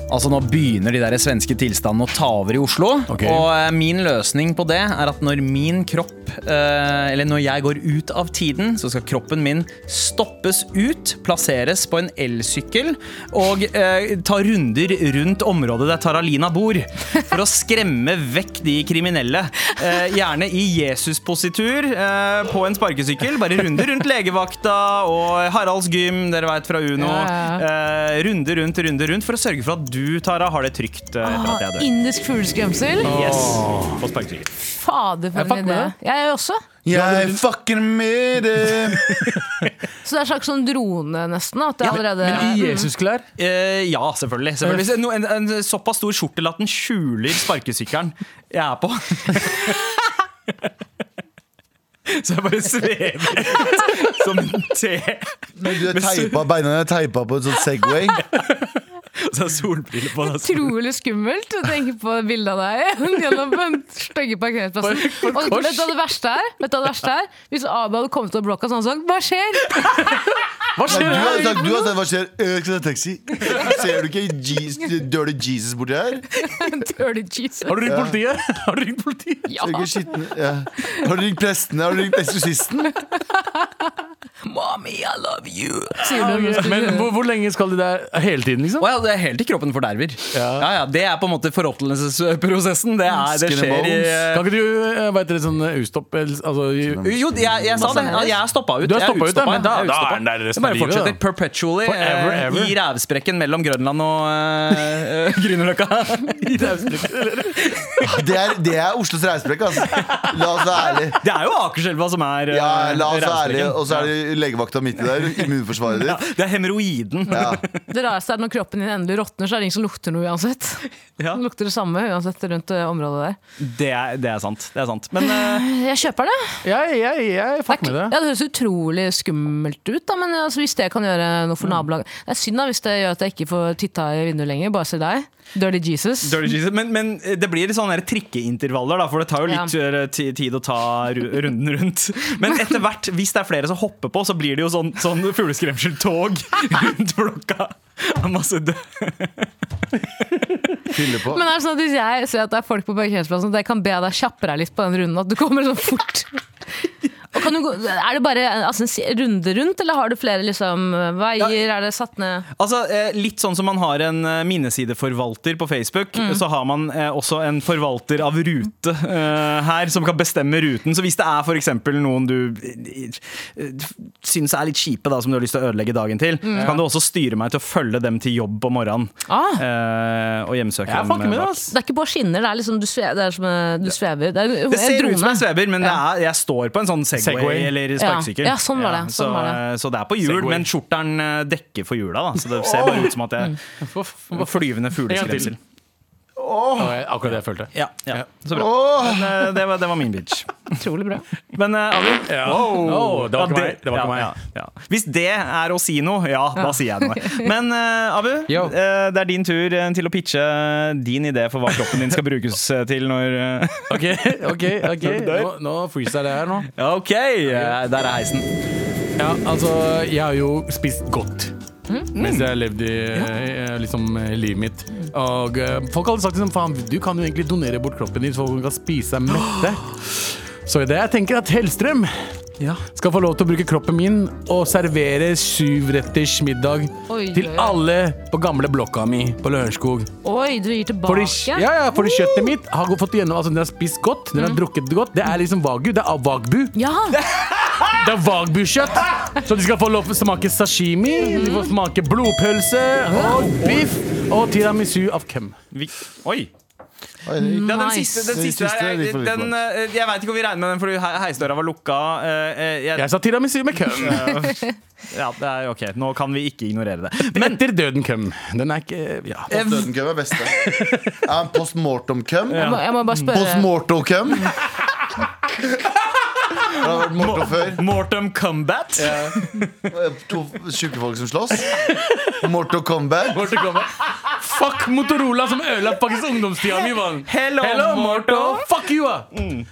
Speaker 2: Altså Nå begynner de der svenske tilstandene å ta over i Oslo.
Speaker 4: Ok.
Speaker 2: Og eh, min løsning på det er at når min kropp eh, Eller når jeg går ut av tiden, så skal kroppen min stoppes ut, plasseres på en elsykkel og eh, ta runder rundt området der Taralina bor. For å skremme vekk de kriminelle. Eh, gjerne i Jesus-positur eh, på en sparkesykkel. Bare runder rundt legevakta og Haralds gym, dere veit fra Uno.
Speaker 1: Ja, ja,
Speaker 2: Eh, runde rundt, runde rundt, for å sørge for at du, Tara, har det trygt eh,
Speaker 1: Ah,
Speaker 2: etter at jeg dør.
Speaker 1: Indisk fugleskremsel.
Speaker 2: Yes. På sparkesykkel.
Speaker 1: Fader, for en
Speaker 4: fucker med
Speaker 1: idé.
Speaker 4: det.
Speaker 1: Jeg også.
Speaker 3: Jeg fucking med det!
Speaker 1: Så det er en slags sånn drone, nesten. At det allerede
Speaker 4: Men i Jesusklær?
Speaker 2: Eh, ja, selvfølgelig. selvfølgelig. No, en, en såpass stor skjortel at den skjuler sparkesykkelen jeg er på. Så jeg bare svever som en te.
Speaker 3: Men du er teipa, beina dine er teipa på en sånn Segway.
Speaker 2: Så har jeg solbriller på. altså. da.
Speaker 1: Utrolig skummelt å tenke på bildet av deg gjennom den stygge parkeringsplassen. Og vet du hva det verste er? Vet du hva det verste er? Hvis Abu hadde kommet til blokka sånn og sagt 'hva skjer?'
Speaker 4: Hva
Speaker 3: Nei,
Speaker 4: skjer
Speaker 3: du har
Speaker 4: her?
Speaker 3: sagt du har sagt hva skjer? Øh, skal jeg ta taxi? Ser du ikke Jesus, Dirty Jesus borti her?
Speaker 1: Dirty Jesus.
Speaker 4: Har du ringt politiet? Har du ringt politiet?
Speaker 1: Ja,
Speaker 3: Ser du ikke skitten? Ja. Har du ringt prestene? Har du ringt eksorsisten?
Speaker 1: mommy, I love you. Sier du mens du
Speaker 4: Men
Speaker 1: kjører.
Speaker 4: hvor, hvor lenge skal de der? Hele tiden, liksom?
Speaker 2: Å ja, det er helt til kroppen forderver. Ja. Ja, det er på en måte forråtnelsesprosessen. Det, er- det
Speaker 3: Skin and
Speaker 2: skjer i
Speaker 4: Kan ikke du eh, hva heter det, sånn eh, ustopp eller- altså, i-
Speaker 2: Jo, jeg, jeg sa det. Jeg er stoppa ut.
Speaker 4: Du er
Speaker 2: Jeg
Speaker 4: stoppa ut,
Speaker 2: utstoppa.
Speaker 4: ja, men da-
Speaker 2: Jeg
Speaker 4: da er
Speaker 2: utstoppa.
Speaker 4: den der
Speaker 2: Jeg
Speaker 4: resten
Speaker 2: bare
Speaker 4: av livet,
Speaker 2: fortsetter
Speaker 4: da.
Speaker 2: perpetually
Speaker 4: Forever,
Speaker 2: eh,
Speaker 4: ever.
Speaker 2: i rævsprekken mellom Grønland og eh, eh, Grünerløkka.
Speaker 3: Det er, det er Oslos reisebrekk, altså. La oss være ærlige.
Speaker 2: det er jo Akerselva som er eh,
Speaker 3: Ja, la oss være ærlige.
Speaker 2: rævsprekken.
Speaker 3: Og så er det legevakta midt i der. Immunforsvaret ditt.
Speaker 2: Det er hemoroiden.
Speaker 3: Ja.
Speaker 1: Det rareste er at når kroppen din endelig råtner, så er det ingen som lukter noe uansett.
Speaker 2: Ja.
Speaker 1: Den lukter det samme uansett rundt eh, området der.
Speaker 2: Det, er- det er sant. Det er sant. Men eh,
Speaker 1: Jeg kjøper det.
Speaker 4: Jeg, jeg, jeg fuck
Speaker 1: Det
Speaker 4: med
Speaker 1: er ikke-
Speaker 4: det.
Speaker 1: Ja, det høres utrolig skummelt ut, da, men altså, hvis det kan gjøre noe
Speaker 4: Mm.
Speaker 1: for nabolaget Det er synd da, hvis det gjør at jeg ikke får titta i vinduet lenger, bare se deg. Dirty Jesus.
Speaker 2: Dirty Jesus. Men, men det blir litt sånne der trikkeintervaller, da, for det tar jo litt
Speaker 1: Ja.
Speaker 2: eh, ti- tid å ta ru- runden rundt. Men etter hvert, hvis det er flere som hopper på, så blir det jo sånn, sånn fugleskremseltog rundt blokka. av Masse død.
Speaker 3: Fylle på.
Speaker 1: Men er det sånn at hvis jeg ser at det er folk på parkeringsplassen, at jeg kan be deg kjappe deg litt på den runden, at du kommer sånn fort? Og kan du gå, er det bare altså, en si- runde rundt, eller har du flere liksom, veier? Er det satt ned
Speaker 2: Altså, eh, Litt sånn som man har en eh, minnesideforvalter på Facebook,
Speaker 4: Mm.
Speaker 2: så har man eh, også en forvalter av rute eh, her, som kan bestemme ruten. Så hvis det er f.eks. noen du eh, eh, syns er litt kjipe, da, som du har lyst til å ødelegge dagen til,
Speaker 4: Mm.
Speaker 2: så kan du også styre meg til å følge dem til jobb om morgenen.
Speaker 1: Ah.
Speaker 2: eh, og hjemsøke
Speaker 4: Jeg fucker
Speaker 2: dem.
Speaker 4: med det,
Speaker 2: bak.
Speaker 4: altså. ass.
Speaker 1: Det er ikke på skinner, det er liksom du, sve, det er som, eh, du svever. Det, er,
Speaker 2: Det ser ut som jeg
Speaker 1: svever.
Speaker 2: svever, men det er, jeg står på en sånn Segway,
Speaker 4: Segway.
Speaker 2: eller sparkesykkel.
Speaker 1: Ja, ja, sånn var det,
Speaker 2: så,
Speaker 1: sånn var det.
Speaker 2: eh, så det er på hjul,
Speaker 4: Segway.
Speaker 2: men skjorteren eh, dekker for hjula, da. Så det ser bare ut som at
Speaker 4: Mm.
Speaker 2: jeg Flyvende fugleskremsel.
Speaker 4: Akkurat det jeg følte.
Speaker 2: Ja, ja. Så bra.
Speaker 3: Åh,
Speaker 2: Men, eh, det, var, det var min bitch.
Speaker 1: Utrolig bra.
Speaker 2: Men eh, Adrian wow.
Speaker 4: Oh, det var ikke
Speaker 2: Ja,
Speaker 4: meg. Det var
Speaker 2: ja,
Speaker 4: ikke meg.
Speaker 2: ja, ja. Hvis det er å si noe, ja, da sier jeg noe. Men eh, Abu,
Speaker 4: Yo.
Speaker 2: eh, det er din tur eh, til å pitche din idé for hva kroppen din skal brukes eh, til når eh,
Speaker 4: Ok, ok, ok Nå, nå freestyler jeg her nå
Speaker 2: Ja, OK! eh, Der er heisen.
Speaker 4: Ja, altså, jeg har jo spist godt
Speaker 1: Mm.
Speaker 4: Mens jeg levde i, eh, liksom, eh, livet mitt
Speaker 1: Mm.
Speaker 4: Og eh, folk har alltid sagt liksom, Faen, du kan jo egentlig donere bort kroppen din Så folk kan spise deg mette Så det jeg tenker at Hellstrøm Skal få lov til å bruke kroppen min Og servere syvretters middag
Speaker 1: Oi,
Speaker 4: Til
Speaker 1: oi, oi.
Speaker 4: alle på gamle blokka mi På Lørenskog
Speaker 1: Oi, du
Speaker 4: fordi,
Speaker 1: gir tilbake?
Speaker 4: ja, ja, fordi kjøttet mitt har fått gjennom Altså, den har spist godt, den har
Speaker 1: Mm.
Speaker 4: drukket godt Det er liksom vagu, det er vagbu
Speaker 1: Ja.
Speaker 4: Det er vagbukjøtt. Så de skal få lov til å smake sashimi, de får smake blodpølse og biff og tiramisu av køm.
Speaker 2: Vi, oi!
Speaker 3: Oi, det gikk.
Speaker 2: Ja, den
Speaker 1: Nice.
Speaker 2: siste, den
Speaker 3: Den
Speaker 2: siste,
Speaker 3: siste
Speaker 2: der,
Speaker 3: er litt for litt
Speaker 2: den, eh, Jeg veit ikke om vi regner med den, fordi he- heisdøra var lukka. eh, eh, jeg,
Speaker 4: Jeg sa tiramisu med køm.
Speaker 2: ja, det er OK. Nå kan vi ikke ignorere det.
Speaker 4: Men etter døden køm. Den er ikke ja.
Speaker 3: Dødenkøm er beste. Ja, post mortem-køm.
Speaker 1: Jeg må, jeg må bare
Speaker 3: Post
Speaker 1: spørre
Speaker 3: mortem-køm. Det har vært mortem før.
Speaker 2: Mortem Combat.
Speaker 3: To tjukke folk som slåss. Morto combat.
Speaker 4: Morten kommer. Fuck Motorola som ødela faktisk ungdomstida mi, mann.
Speaker 2: Hello, Morto.
Speaker 4: Fuck you, ah.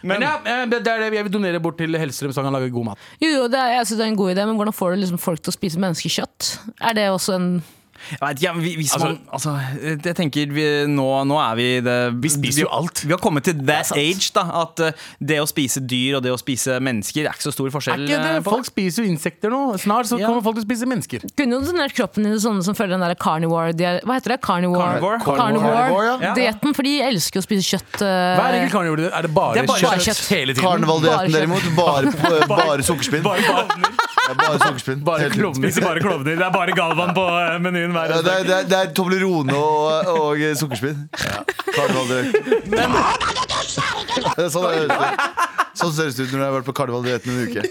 Speaker 4: Men ja, eh, det det er det jeg vil donere bort til Hellstrøm, så han kan lage god mat.
Speaker 1: Jo, jo, det er, jeg synes det er en god idé, men hvordan får du liksom folk til å spise menneskekjøtt? Er det også en
Speaker 2: Jeg vet, ikke, ja, vi- hvis
Speaker 4: Altså-
Speaker 2: man, altså, eh, jeg tenker vi, nå, nå er vi i det, Vi
Speaker 4: spiser jo alt.
Speaker 2: Vi har kommet til that age, da. At eh, det å spise dyr og det å spise mennesker er ikke så stor
Speaker 4: Er
Speaker 2: forskjell.
Speaker 4: ikke det?
Speaker 2: eh, på-
Speaker 4: Folk spiser jo insekter nå. Snart så
Speaker 2: Ja.
Speaker 4: kommer folk til å spise mennesker.
Speaker 1: Kunne du donert kroppen din til sånne som følger den der carnivore de er, Hva heter det? Carnivore,
Speaker 2: Carnivore.
Speaker 3: Carnivore, ja.
Speaker 1: carnivore dieten, for de elsker jo å spise kjøtt. eh,
Speaker 4: Hva er det ikke karneval? Er det bare,
Speaker 2: Det er bare
Speaker 4: kjøtt,
Speaker 1: kjøtt.
Speaker 4: hele tiden?
Speaker 3: Karnevaldietten
Speaker 1: Bare
Speaker 3: derimot, bare, eh, bare sukkerspinn.
Speaker 4: Bare klovner.
Speaker 3: Ja, bare sukkerspinn.
Speaker 4: Bare
Speaker 3: Helt ut.
Speaker 4: klovner.
Speaker 2: Spiser bare klovner. Det er bare Galvan på eh, menyen hver
Speaker 3: Ja,
Speaker 2: eneste
Speaker 3: det, er, det, er, det er Toblerone og, og eh, sukkerspinn. Karnevaldietten. Det er Sånn det høres ut. Sånn ser det ut når jeg har vært på karnevaldietten en uke.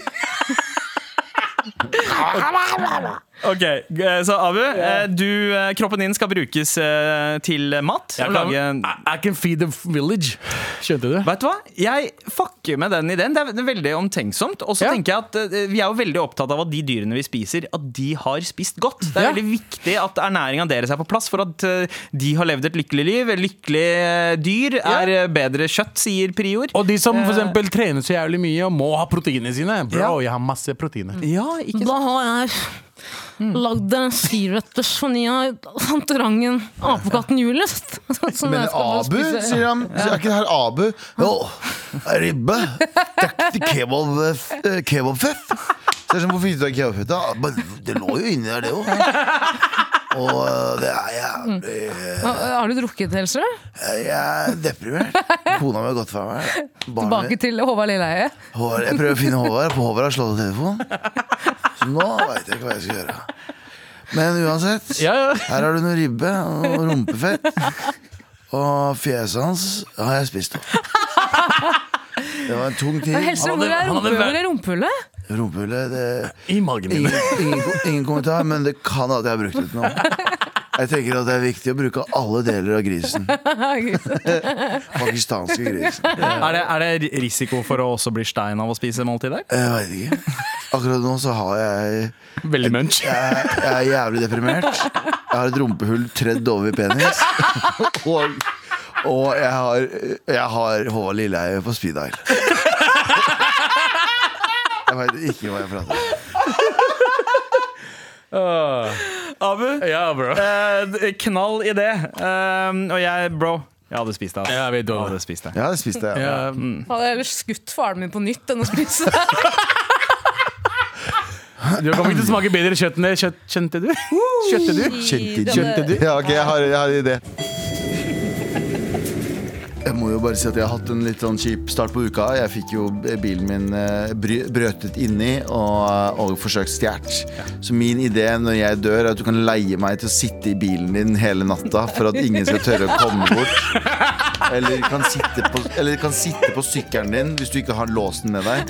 Speaker 2: Ok, eh, Så Abu, eh, du, eh, kroppen din skal brukes eh, til eh, mat.
Speaker 4: Jeg
Speaker 2: Og
Speaker 4: kan-
Speaker 2: lage-
Speaker 4: I, I can feed the village. Skjønte du?
Speaker 2: Vet du hva? Jeg fucker med den ideen. Det er ve- veldig omtenksomt. Og så
Speaker 4: Ja.
Speaker 2: tenker jeg at eh, Vi er jo veldig opptatt av at de dyrene vi spiser, at de har spist godt. Det er
Speaker 4: Ja.
Speaker 2: veldig viktig at ernæringa deres er på plass for at eh, de har levd et lykkelig liv. Lykkelig eh, dyr er eh, bedre kjøtt, sier prior.
Speaker 4: Og de som for eksempel trener så jævlig mye og må ha proteinene sine.
Speaker 2: Ja.
Speaker 4: Bro, jeg har masse proteiner.
Speaker 2: ja, ikke sant?
Speaker 1: Da har jeg lagd en siretters for ni av Fantorangen apekatten Julius. som
Speaker 3: Men
Speaker 1: jeg skal
Speaker 3: Abu,
Speaker 1: spise.
Speaker 3: sier han. Er ikke det her Abu? Jo, ribbe. Takk til kebab, eh, kebabfeff. Så jeg er sånn, hvorfor fikk du deg kebabfett? da? Bare, Det lå jo inni der, det òg. Og eh, det er jævlig eh,
Speaker 1: Hva- Har du drukket, Helse?
Speaker 3: Jeg er deprimert. Kona mi har gått fra meg. Barnet
Speaker 1: Tilbake
Speaker 3: mitt.
Speaker 1: til Håvard Lilleheie.
Speaker 3: Håvard, jeg prøver å finne Håvard. På Håvard har slått av telefonen. Så nå veit jeg ikke hva jeg skal gjøre. Men uansett,
Speaker 4: Ja, ja.
Speaker 3: her har du noe ribbe og rumpefett. Og fjeset hans har jeg spist opp. Det var en tung tid.
Speaker 1: Helse, hvor er
Speaker 4: han hadde vært-
Speaker 1: rumpe- hvor er rumpehullet?
Speaker 3: Rumpehullet det-
Speaker 4: I magen min.
Speaker 3: ingen, ingen, ingen kommentar, men det kan at jeg har brukt det til noe. Jeg tenker at det er viktig å bruke alle deler av grisen. Pakistanske grisen.
Speaker 2: Er, det, er det risiko for å også bli stein av å spise måltider?
Speaker 3: Jeg veit ikke. Akkurat nå så har jeg
Speaker 4: Veldig munch.
Speaker 3: jeg, jeg er jævlig deprimert. Jeg har et rumpehull tredd over i penis. Og, og jeg har, jeg har Håvard Lilleheie på speed dial. Jeg veit ikke hva jeg prater om.
Speaker 2: Abu,
Speaker 4: Ja, bro.
Speaker 2: eh, knall i det. Eh, og jeg, bro Jeg hadde spist det. ass.
Speaker 4: Jeg vet det.
Speaker 2: hadde spist det.
Speaker 3: Ja, det spiste jeg.
Speaker 4: Ja,
Speaker 1: Hadde jeg ellers skutt faren min på nytt enn å spise
Speaker 4: du kommer ikke til å smake bedre kjøtt enn det. Kjøtt, kjente du? Kjøtte du?
Speaker 3: Kjente du?
Speaker 1: Kjente du?
Speaker 3: Ja, ok, jeg har, jeg har en idé. Jeg må jo bare si at jeg har hatt en litt sånn kjip start på uka. Jeg fikk jo bilen min eh, bry- brøtet inni og, eh, og forsøkt stjålet. Så min idé når jeg dør, er at du kan leie meg til å sitte i bilen din hele natta for at ingen skal tørre å komme bort. Eller kan, sitte på, eller kan sitte på sykkelen din hvis du ikke har låsen med deg.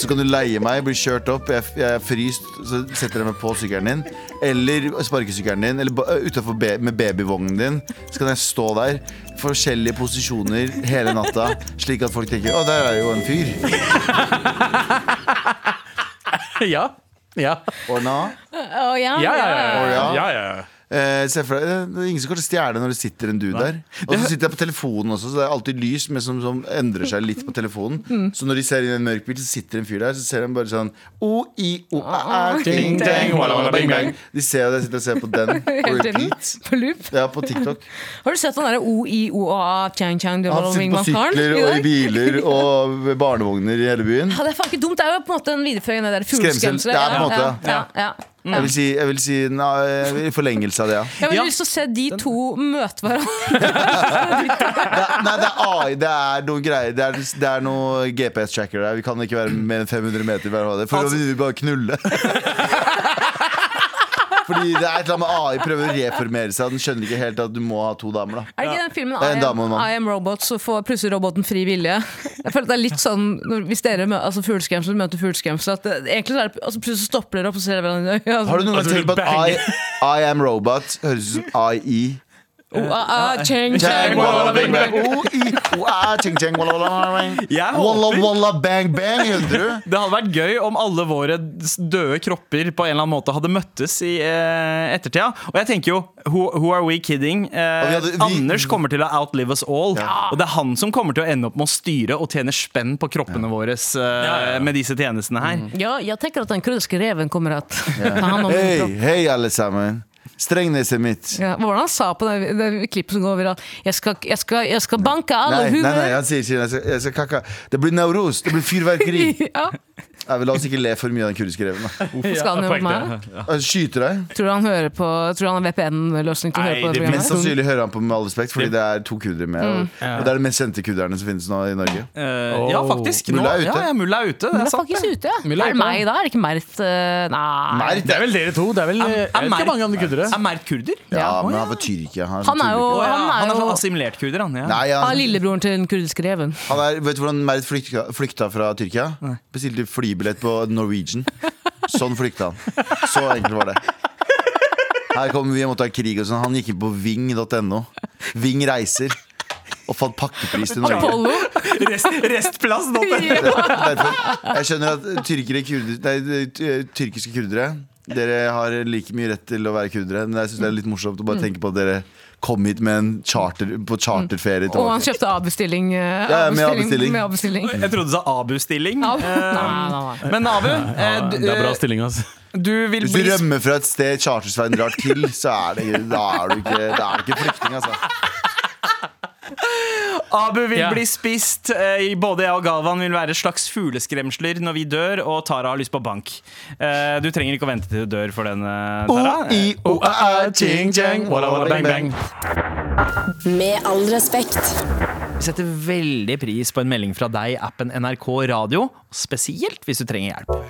Speaker 3: Så kan du leie meg, bli kjørt opp, jeg, jeg er fryst, så setter jeg meg på sykkelen din. eller sparkesykkelen din, eller ba- eh, utenfor ba- med babyvognen din, så kan jeg stå der forskjellige posisjoner hele natta, slik at folk tenker 'Å, der er jo en fyr'.
Speaker 4: Ja. Ja.
Speaker 3: Ordna.
Speaker 1: Å, ja,
Speaker 4: Ja, ja,
Speaker 1: ja.
Speaker 3: Å, ja.
Speaker 4: ja. ja,
Speaker 3: Eh, se for deg, det er ingen som kommer til å stjele når det sitter en dude der. Og så sitter jeg på telefonen også, så det er alltid lys men som, som endrer seg litt på telefonen.
Speaker 4: Mm.
Speaker 3: Så når de ser inn i en mørk bil, så sitter en fyr der, så ser de bare sånn
Speaker 4: Ah, Ding, dang, walla, walla, bing,
Speaker 3: O-i-o-a-a-ting-tang.
Speaker 4: bang.
Speaker 3: De ser at jeg sitter og ser på den på
Speaker 1: Hele tiden.
Speaker 3: repeat.
Speaker 1: På loop.
Speaker 3: Ja, på TikTok.
Speaker 1: Har du sett den derre OIOA Chang Chang
Speaker 3: Han sitter på
Speaker 1: Ringbankaren?
Speaker 3: sykler og i biler og ved barnevogner i hele byen.
Speaker 1: Ja, det er faen ikke dumt. Det er jo på en måte en videreføring av det der fugleskremselet.
Speaker 3: Ja, på en måte,
Speaker 1: ja, ja, ja.
Speaker 3: Jeg vil si, jeg vil si na, i forlengelse av det, ja.
Speaker 1: Jeg
Speaker 2: Ja.
Speaker 1: har lyst til å se de to møte hverandre.
Speaker 3: Det er, nei, det er AI. Det er noe greier. Det er, det er noe GPS-tracker der. Vi kan ikke være mer enn 500 meter hver av det. For da vil vi bare knulle. Fordi det er et eller annet med AI prøver å reformere seg. Den skjønner ikke helt at du må ha to damer. da
Speaker 1: Er det ikke den filmen
Speaker 3: Det er
Speaker 1: I
Speaker 3: en dame og en
Speaker 1: am,
Speaker 3: mann.
Speaker 1: I am Robot, så får plutselig roboten fri vilje? Jeg føler at det er litt sånn når, Hvis dere møter altså fugleskremsel, møter fugleskremsel at det, egentlig så er det, altså Plutselig stopper dere opp og ser hverandre i øya.
Speaker 3: Har du noen gang
Speaker 4: Altså,
Speaker 3: tenkt på at I, I am robot høres ut som IE?
Speaker 1: Chang
Speaker 3: Chang,
Speaker 1: Chang
Speaker 3: walla, bang, bang. Oh, i, oh, ah, ching, chang, walla, walla, bang.
Speaker 2: Jeg håper-
Speaker 3: Walla, walla, bang, bang, hører du?
Speaker 2: Det hadde vært gøy om alle våre s- døde kropper på en eller annen måte hadde møttes i eh, ettertida. Og jeg tenker jo, who, who are we kidding? Eh,
Speaker 3: Og vi hadde- vi-
Speaker 2: Anders kommer til å outlive us all.
Speaker 3: Ja.
Speaker 2: Og det er han som kommer til å ende opp med å styre og tjene spenn på kroppene våre eh, med disse tjenestene her.
Speaker 1: Ja, jeg tenker at den kurdiske reven kommer att ta hand om min
Speaker 3: Hei,
Speaker 1: kropp.
Speaker 3: hei, alle sammen. Strengneset mitt.
Speaker 1: Ja, hva var det han sa på det, det klippet som går viralt? Jeg skal, jeg skal, jeg skal banke alle
Speaker 3: Nei, nei,
Speaker 1: huer!
Speaker 3: nei, han sier ikke jeg skal, jeg skal kakka. Det blir nauros, det blir fyrverkeri.
Speaker 1: ja.
Speaker 3: Nei, men la oss ikke le for mye av den kurdiske reven. da.
Speaker 1: Hvorfor skal han
Speaker 4: på
Speaker 1: gjøre
Speaker 4: ekte.
Speaker 1: meg?
Speaker 3: Han Skyter deg.
Speaker 1: Tror du han hører på Tror du han har VPN-løsning til å
Speaker 4: Nei,
Speaker 1: høre på det
Speaker 3: Mest
Speaker 4: det
Speaker 1: programmet?
Speaker 3: sannsynlig hører han på Med all respekt, fordi det er to kurdere med.
Speaker 1: Mm.
Speaker 3: Og, og det er de mest kjente kurderne som finnes nå i Norge.
Speaker 2: Eh, Ja,
Speaker 4: Oh.
Speaker 2: faktisk. Nå,
Speaker 3: Mulla er ute.
Speaker 2: Ja, ja, mulla er ute. Det
Speaker 1: Han
Speaker 2: er
Speaker 1: er
Speaker 2: sant.
Speaker 1: faktisk ute, ja.
Speaker 4: Mulla er
Speaker 1: Er det
Speaker 4: ute,
Speaker 1: meg da? Er det ikke Mert eh, Nei.
Speaker 3: Mert,
Speaker 4: Det er vel dere to. Det er vel eh, jeg vet ikke hvor mange andre kuddere.
Speaker 2: Er Mert kurder?
Speaker 3: Ja,
Speaker 1: Ja.
Speaker 3: men han er fra Tyrkia. Han er,
Speaker 1: Han
Speaker 3: fra
Speaker 1: er
Speaker 3: Tyrkia.
Speaker 1: jo
Speaker 2: Å, ja.
Speaker 1: Han er
Speaker 2: Han er
Speaker 1: jo-
Speaker 2: sånn assimilert kurder, han. Ja.
Speaker 3: Nei,
Speaker 1: Ah,
Speaker 3: han,
Speaker 1: lillebroren til den kurdiske reven.
Speaker 3: han er, Vet du hvordan Mert flykta, flykta fra Tyrkia? Bestilte flybillett på Norwegian. Sånn flykta han. Så enkelt var det. Her kommer vi og måtte ha krig og sånn. Han gikk inn på ving.no. Ving reiser. Og fant pakkepris til Norge.
Speaker 1: Apollo.
Speaker 2: Rest, restplass! nå.
Speaker 3: Derfor, jeg skjønner at tyrkere, kurder, nei, ty- tyrkiske kurdere Dere har like mye rett til å være kurdere, men jeg synes det er litt morsomt å bare
Speaker 1: Mm.
Speaker 3: tenke på at dere kom hit med en charter, på charterferie.
Speaker 1: Og han
Speaker 3: tilbake.
Speaker 1: kjøpte avbestilling. eh,
Speaker 3: Ja, ja, med avbestilling.
Speaker 1: Med avbestilling.
Speaker 2: Jeg trodde du sa Abu-stilling.
Speaker 1: Av-
Speaker 2: Eh,
Speaker 1: Nei, nei, nei.
Speaker 2: Men Abu, eh,
Speaker 4: Ja,
Speaker 2: du,
Speaker 4: det er bra
Speaker 2: eh,
Speaker 4: stilling, ass.
Speaker 2: du vil
Speaker 3: Hvis du
Speaker 2: bli
Speaker 3: rømmer fra et sted Chartersveien drar til, så er det, da er du ikke, da er du ikke flyktning, altså.
Speaker 2: Abu vil
Speaker 4: Ja.
Speaker 2: bli spist. eh, Både jeg og Galvan vil være slags fugleskremsler når vi dør, og Tara har lyst på bank. Eh, Du trenger ikke å vente til du dør for den, eh, Tara.
Speaker 3: O-i-o-a-a, ching-chang,
Speaker 4: Bang-bang.
Speaker 5: Med all respekt.
Speaker 2: Vi setter veldig pris på en melding fra deg i appen NRK Radio, spesielt hvis du trenger hjelp.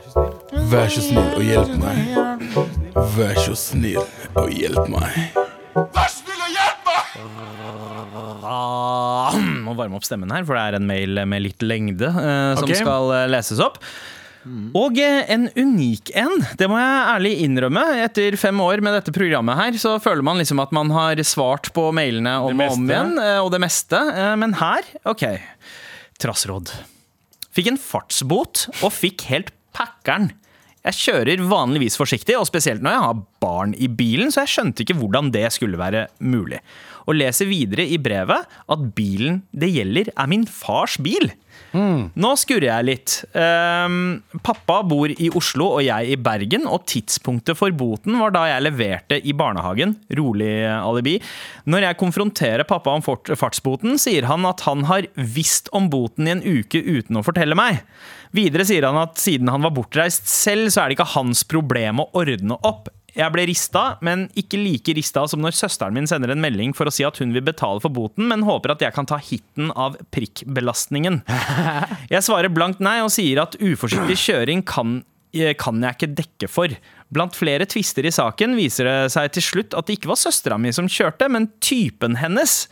Speaker 4: Vær så snill og hjelp meg. Vær så snill og hjelp meg.
Speaker 2: Ah, må varme opp stemmen her, for det er en mail med litt lengde eh, som
Speaker 4: Ok.
Speaker 2: skal eh, leses opp. Og eh, en unik en. Det må jeg ærlig innrømme. Etter fem år med dette programmet her, så føler man liksom at man har svart på mailene om
Speaker 4: Det
Speaker 2: og om
Speaker 4: meste.
Speaker 2: igjen, eh, og det meste. Eh, Men her, OK. Trassråd. Fikk en fartsbot og fikk helt packeren. Jeg kjører vanligvis forsiktig, og spesielt når jeg har barn i bilen, så jeg skjønte ikke hvordan det skulle være mulig. Og leser videre i brevet at bilen det gjelder, er min fars bil. Nå skurrer jeg litt. Ehm, pappa bor i Oslo og jeg i Bergen, og tidspunktet for boten var da jeg leverte i barnehagen. Rolig alibi. Når jeg konfronterer pappa om fort- fartsboten, sier han at han har visst om boten i en uke uten å fortelle meg. Videre sier han at siden han var bortreist selv, så er det ikke hans problem å ordne opp. Jeg ble rista, men ikke like rista som når søsteren min sender en melding for å si at hun vil betale for boten, men håper at jeg kan ta hiten av prikkbelastningen. Jeg svarer blankt nei og sier at uforsiktig kjøring kan, eh, kan jeg ikke dekke for. Blant flere tvister i saken viser det seg til slutt at det ikke var søstera mi som kjørte, men typen hennes,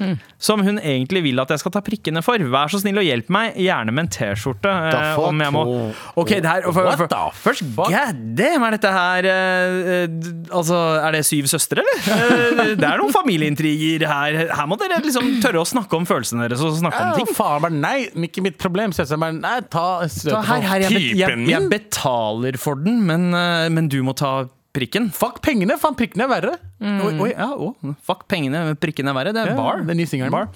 Speaker 2: som hun egentlig vil at jeg skal ta prikkene for. Vær så snill og hjelp meg, gjerne med en T-skjorte. eh,
Speaker 3: The fuck?
Speaker 2: Om jeg må Ok, det her for,
Speaker 4: What
Speaker 2: for,
Speaker 4: the
Speaker 2: Først,
Speaker 4: fuck?
Speaker 2: god damn, er dette her eh, d- Altså, er det syv søstre, eller? Eh, det er noen familieintriger her. Her må dere liksom tørre å snakke om følelsene deres og snakke om ting.
Speaker 4: Å, faen bare nei, ikke mitt problem. Søsteren bare nei, ta
Speaker 2: Ta
Speaker 4: støtet
Speaker 2: her, her, jeg, bet- jeg,
Speaker 4: typen
Speaker 2: jeg
Speaker 4: min.
Speaker 2: betaler for den, men, eh, men du må ta prikken.
Speaker 4: Fuck pengene, faen prikkene er verre.
Speaker 2: Oi, oi, ja, å, fuck pengene, men prikken er verre. Det er
Speaker 4: Ja,
Speaker 2: bar.
Speaker 4: det er ny singelen.
Speaker 2: Bar.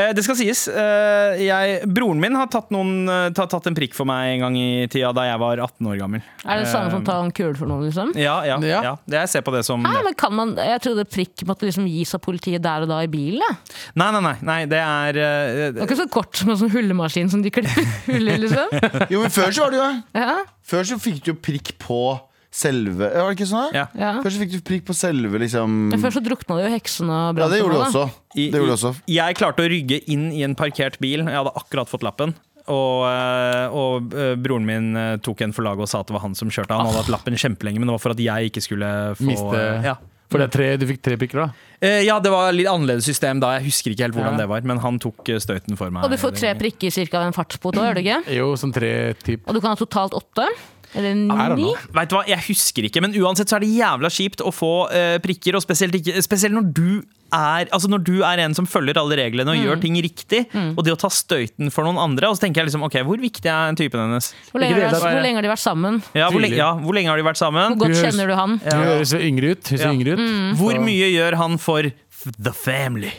Speaker 2: Eh, det skal sies. eh, jeg, broren min har tatt, noen, eh, ta- tatt en prikk for meg en gang i tida da jeg var 18 år gammel.
Speaker 1: Er det samme som ta en kule for noen, liksom?
Speaker 2: Ja, ja,
Speaker 4: Ja.
Speaker 2: ja. Jeg ser på det som
Speaker 1: Nei, men kan man, Jeg trodde prikk måtte liksom gis av politiet der og da i bilen. jeg.
Speaker 2: Nei, nei, nei. nei det er eh,
Speaker 1: Det var ikke så kort som en sånn hullemaskin som de klipper hull i, liksom.
Speaker 3: Jo, men før så var det jo det.
Speaker 1: Ja,
Speaker 3: Før så fikk du jo prikk på selve Var det ikke sånn? da?
Speaker 2: ja.
Speaker 1: ja.
Speaker 3: Før så fikk du prikk på selve, liksom
Speaker 1: Men Før så drukna det jo heksene og
Speaker 3: Ja, det gjorde du
Speaker 1: brannmennene, da.
Speaker 3: også.
Speaker 2: I-
Speaker 3: Det gjorde du også.
Speaker 2: i- Jeg klarte å rygge inn i en parkert bil. Jeg hadde akkurat fått lappen. Og, eh, og eh, broren min eh, tok en for laget og sa at det var han som kjørte. Han hadde hatt lappen kjempelenge, men det var for at jeg ikke skulle få eh,
Speaker 4: Miste-
Speaker 2: ja.
Speaker 4: For det er tre, du fikk tre prikker, da.
Speaker 2: Eh, ja, det var litt annerledes system da. Jeg husker ikke helt hvordan
Speaker 4: Ja.
Speaker 2: det var, men han tok eh, støyten for meg.
Speaker 1: Og du får tre prikker cirka ved en fartsbot òg, gjør du ikke?
Speaker 4: Jo, sånn tre typ.
Speaker 1: Og du kan ha totalt åtte? Eller
Speaker 4: don't
Speaker 1: ni?
Speaker 4: know.
Speaker 2: Vet du hva, Jeg husker ikke, men uansett så er det jævla kjipt å få eh, prikker. Og spesielt, ikke, spesielt når du er Altså når du er en som følger alle reglene
Speaker 1: Mm.
Speaker 2: og gjør ting riktig. Og det å ta støyten for noen andre. Og så tenker jeg liksom, ok, hvor viktig er typen hennes?
Speaker 1: Hvor lenge,
Speaker 4: Ikke det,
Speaker 1: har de-
Speaker 2: det er-
Speaker 1: hvor lenge har de vært sammen?
Speaker 2: Ja, hvor, lenge,
Speaker 4: Tydelig.
Speaker 2: ja, hvor lenge har de vært sammen?
Speaker 1: Hvor
Speaker 4: Du
Speaker 1: godt
Speaker 4: høres-
Speaker 1: kjenner du han?
Speaker 4: Du høres så yngre ut. Høres så
Speaker 2: Ja. Mm.
Speaker 4: yngre ut.
Speaker 2: Hvor mye gjør han for f- the family?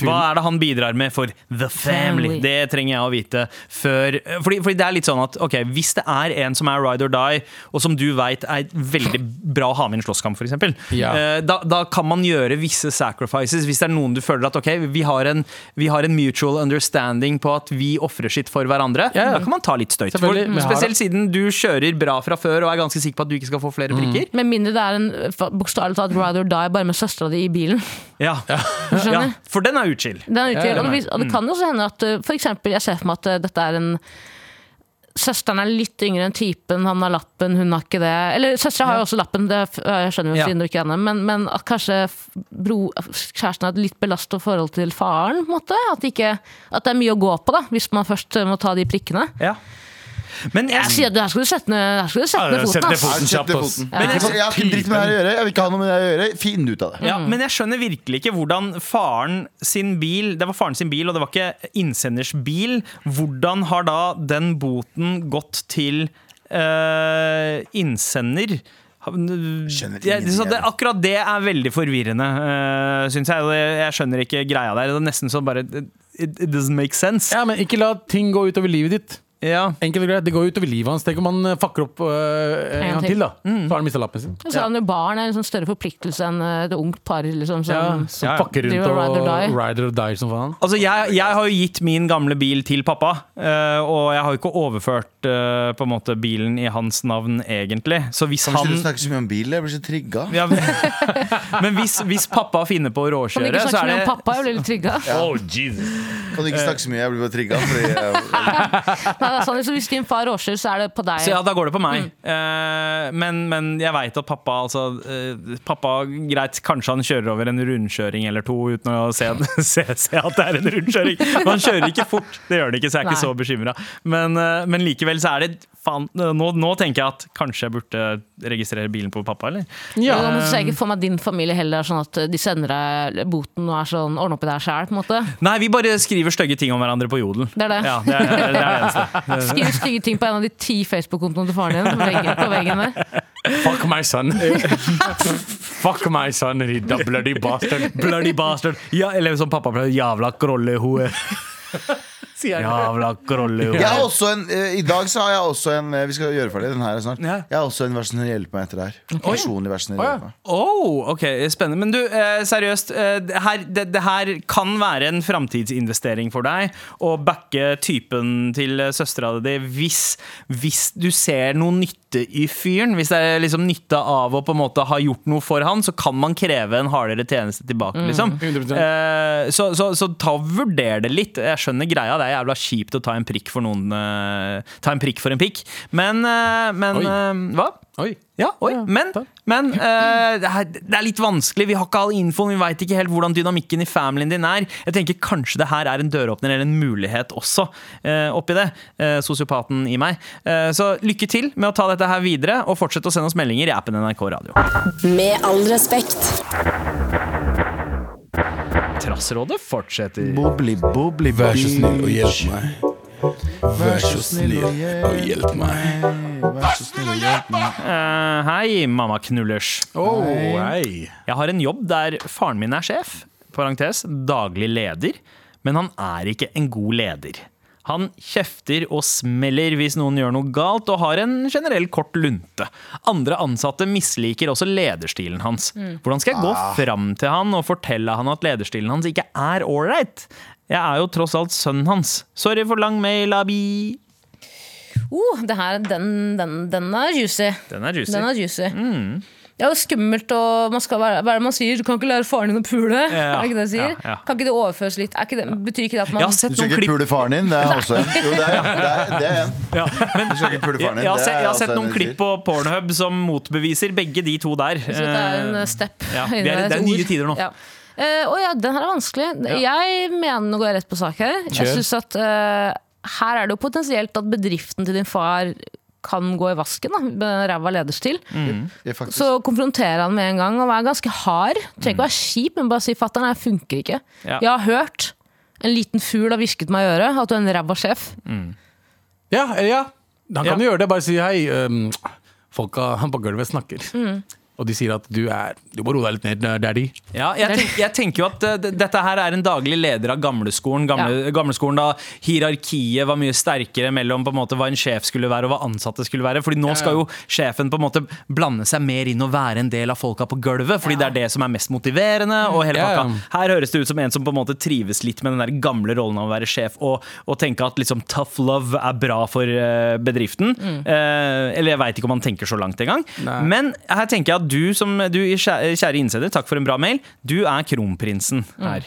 Speaker 2: Hva er det han bidrar med for the family?
Speaker 1: Family.
Speaker 2: Det trenger jeg å vite før fordi, fordi det er litt sånn at ok, hvis det er en som er ride or die, og som du veit er veldig bra å ha med i en slåsskamp, f.eks.,
Speaker 4: Ja.
Speaker 2: eh, da, da kan man gjøre visse sacrifices. Hvis det er noen du føler at ok, vi har en, vi har en mutual understanding på at vi ofrer sitt for hverandre,
Speaker 4: Ja, ja.
Speaker 2: da kan man ta litt støyt. For,
Speaker 4: Selvfølgelig, vi har det.
Speaker 2: spesielt siden du kjører bra fra før og er ganske sikker på at du ikke skal få flere
Speaker 4: Mm.
Speaker 2: prikker.
Speaker 1: Med mindre det er en fa- bokstavelig talt ride or die bare med søstera di i bilen.
Speaker 2: Ja. ja,
Speaker 1: skjønner?
Speaker 2: for den er uchill.
Speaker 1: Den er utvidet,
Speaker 4: Ja, Mm. ja,
Speaker 1: og, det, vis- og det kan jo også hende at uh, for eksempel, jeg ser for meg at uh, dette er en Søsteren er litt yngre enn typen, han har lappen, hun har ikke det. Eller søstera har jo også lappen, det f- jeg skjønner jo
Speaker 2: Ja.
Speaker 1: siden du ikke er henne, men, men at kanskje f- bro, kjæresten har et litt belasta forhold til faren, på en måte. At, det ikke, at det er mye å gå på, da, hvis man først uh, må ta de prikkene.
Speaker 2: Ja. Men jeg,
Speaker 1: Jeg sier at her skal du sette ned, her skal du sette
Speaker 4: Ja,
Speaker 1: ned
Speaker 4: sette
Speaker 1: foten,
Speaker 3: Jeg har kjøpt
Speaker 4: ned foten. kjapt,
Speaker 1: ass.
Speaker 3: det
Speaker 4: ass.
Speaker 3: foten.
Speaker 1: Men
Speaker 3: Jeg
Speaker 2: ikke
Speaker 3: jeg har ikke dritt med det her å gjøre. Jeg vil ikke ha noe med det her å gjøre. Finn ut av det.
Speaker 2: ja, men jeg skjønner virkelig ikke hvordan faren sin bil Det var faren sin bil, og det var ikke innsenders bil. Hvordan har da den boten gått til eh, innsender? Ha-
Speaker 3: Skjønner
Speaker 2: Jeg,
Speaker 3: ingenting,
Speaker 2: så det,
Speaker 3: jeg.
Speaker 2: akkurat det er veldig forvirrende, uh, syns jeg. Og Jeg jeg skjønner ikke greia der. Det er nesten sånn bare It, it doesn't make sense.
Speaker 4: Ja, men ikke la ting gå utover livet ditt.
Speaker 2: Ja.
Speaker 4: Enkelt og greit, Det går utover livet hans. Tenk om han eh, fucker opp øh, en
Speaker 1: En
Speaker 4: gang
Speaker 1: til.
Speaker 4: til, da. Så har han mista lappen sin.
Speaker 1: Og så har han jo barn, er en sånn større forpliktelse enn uh, et ungt par, liksom.
Speaker 4: Ja,
Speaker 1: Som,
Speaker 4: som
Speaker 2: ja.
Speaker 4: fucker rundt
Speaker 1: Driver
Speaker 4: og
Speaker 1: ride or die.
Speaker 4: rider or die som faen.
Speaker 2: Altså, jeg, jeg har jo gitt min gamle bil til pappa, eh, og jeg har jo ikke overført eh, på en måte bilen i hans navn, egentlig. Så hvis
Speaker 3: Kan vi
Speaker 2: han
Speaker 3: slutte å snakke så mye om bil? Jeg blir så trigga.
Speaker 2: ja, men- Men hvis, hvis pappa finner på å
Speaker 1: Kan du
Speaker 2: råkjøre,
Speaker 1: ikke
Speaker 2: så er
Speaker 1: snakke med
Speaker 2: det
Speaker 1: pappa? Jeg blir litt trygga.
Speaker 3: Kan
Speaker 2: Eh.
Speaker 3: du ikke snakke så mye? Jeg blir bare trigga. Fordi eh, jeg,
Speaker 1: Nei, det er sant, liksom, Hvis din far råskjer, så er det på deg.
Speaker 2: så ja, da går det på meg.
Speaker 1: Mm.
Speaker 2: Eh, men, men jeg veit at pappa altså, eh, Pappa, greit, kanskje han kjører over en rundkjøring eller to uten å se, se, se at det er en rundkjøring. Men han kjører ikke fort, det gjør han ikke, så jeg er ikke
Speaker 1: Nei.
Speaker 2: så bekymra. Men, eh, men likevel så er det faen, nå, nå tenker jeg at kanskje jeg burde registrere bilen på pappa, eller?
Speaker 1: Ja. Da må du se ikke for meg at din familie heller, er sånn at de sender deg boten og er sånn ordne opp i deg sjæl, på en måte.
Speaker 2: Nei, vi bare skriver stygge ting om hverandre på jodel.
Speaker 1: Det er det.
Speaker 2: Ja, det er det, er det eneste.
Speaker 1: Skriv stygge ting på en av de ti Facebook-kontoene til faren din på veggen, på veggen der.
Speaker 4: Fuck my son. Fuck my son, he da bloody bastard.
Speaker 2: Bloody bastard. Ja, eller som pappa pleier, jævla krollehoe.
Speaker 4: Sier han.
Speaker 2: Jævla krollehoe.
Speaker 3: jeg har også en, eh, I dag så har jeg også en eh, Vi skal gjøre ferdig den her snart.
Speaker 2: Ja.
Speaker 3: Jeg har også en versjon som hjelper meg etter det her. Personlig versjon som
Speaker 4: Å, ja.
Speaker 3: hjelper meg.
Speaker 2: Oh, ok, spennende. Men du, eh, seriøst. eh, Det her, det, det her kan være en framtidsinvestering for deg å backe typen til eh, søstera di hvis, hvis du ser noe nytte i fyren. Hvis det er liksom nytte av å på en måte ha gjort noe for han, så kan man kreve en hardere tjeneste tilbake. liksom
Speaker 4: 100%.
Speaker 2: Eh, så, så, så ta og vurder det litt. Jeg skjønner greia, det er jævla kjipt å ta en prikk for noen eh, Ta en prikk for en pikk. Men, eh, men
Speaker 4: Oi.
Speaker 2: eh, hva?
Speaker 4: Oi.
Speaker 2: Ja, oi. Men,
Speaker 4: takk.
Speaker 2: men eh, det, er, det er litt vanskelig. Vi har ikke all infoen. Vi veit ikke helt hvordan dynamikken i familien din er. Jeg tenker Kanskje det her er en døråpner eller en mulighet også eh, oppi det. eh, sosiopaten i meg. Eh, så lykke til med å ta dette her videre, og fortsett å sende oss meldinger i appen NRK Radio.
Speaker 5: Med all respekt.
Speaker 2: Trassrådet fortsetter.
Speaker 3: Bobli, bobli,
Speaker 6: Vær så snill og hjelp meg. Vær så snill og hjelp meg.
Speaker 3: Vær så snill og hjelp meg.
Speaker 2: Eh, hei, mamma knullers.
Speaker 4: Oh, hei.
Speaker 2: Jeg har en jobb der faren min er sjef, parentes, daglig leder, men han er ikke en god leder. Han kjefter og smeller hvis noen gjør noe galt, og har en generell kort lunte. Andre ansatte misliker også lederstilen hans. Hvordan skal jeg gå
Speaker 4: Ah.
Speaker 2: fram til han og fortelle han at lederstilen hans ikke er ålreit? Jeg er jo tross alt sønnen hans. Sorry for lang mail, Abi.
Speaker 1: Oh, det her, den, den, den er juicy.
Speaker 2: Den er juicy. Mm.
Speaker 1: Den er juicy. Det er jo skummelt, og man skal være, hva er det man sier? Du kan ikke lære faren din å pule.
Speaker 2: Ja,
Speaker 1: er ikke det de sier?
Speaker 2: ja, ja.
Speaker 1: Kan ikke det overføres litt? Er ikke det, betyr ikke det at man
Speaker 2: Jeg har sett
Speaker 3: Du skal
Speaker 2: noen
Speaker 3: ikke
Speaker 2: klipp
Speaker 3: pule faren din? Det er også en. Jo, det er, det er, det er en. Du skal ikke pule
Speaker 2: jeg,
Speaker 3: faren din.
Speaker 2: jeg, har
Speaker 3: det
Speaker 2: sett,
Speaker 3: er
Speaker 2: jeg har
Speaker 3: også
Speaker 2: sett
Speaker 3: en
Speaker 2: noen
Speaker 3: jeg
Speaker 2: klipp på Pornhub som motbeviser begge de to der.
Speaker 1: Så det er en eh, step.
Speaker 2: Ja,
Speaker 1: i
Speaker 2: vi er- det er
Speaker 1: ord.
Speaker 2: nye tider nå.
Speaker 1: Ja. Eh, å ja, den her er vanskelig. Jeg mener nå går jeg rett på sak her. Jeg
Speaker 4: Kjør.
Speaker 1: synes at eh, her er det jo potensielt at bedriften til din far kan gå i vasken, da, med ræva lederstil.
Speaker 2: Mm.
Speaker 3: sier. Ja, faktisk.
Speaker 1: Så konfrontere han med en gang og være ganske hard. Trenger ikke å være kjip, men bare si 'fatter'n, det her funker ikke'.
Speaker 2: Mm. Ja.
Speaker 1: Jeg har hørt en liten fugl har hvisket meg i øret at du er en ræva sjef.
Speaker 4: Ja, eh, ja. Han kan
Speaker 2: Ja.
Speaker 4: jo gjøre det. Bare si hei. ehm, folka på gulvet snakker. Og de sier at du er Du må roe deg litt ned, eh, daddy.
Speaker 2: Ja, jeg, tenk, jeg tenker jo at eh, det- dette her er en daglig leder av gamleskolen. Gamle, Gamleskolen da hierarkiet var mye sterkere mellom på en måte hva en sjef skulle være og hva ansatte skulle være. Fordi nå skal jo sjefen på en måte blande seg mer inn og være en del av folka på gulvet. Fordi det er det som er mest motiverende. Og hele
Speaker 4: Ja, ja.
Speaker 2: pakka.
Speaker 1: Sånn.
Speaker 2: Her høres det ut som en som på en måte trives litt med den der gamle rollen av å være sjef og, og tenke at liksom tough love er bra for eh, bedriften.
Speaker 1: Mm.
Speaker 2: Eh, eller jeg veit ikke om han tenker så langt engang.
Speaker 4: Nei.
Speaker 2: Men her tenker jeg at du, som, du kjære kjære innsender, takk for en bra mail. Du er kronprinsen
Speaker 1: Mm,
Speaker 2: her.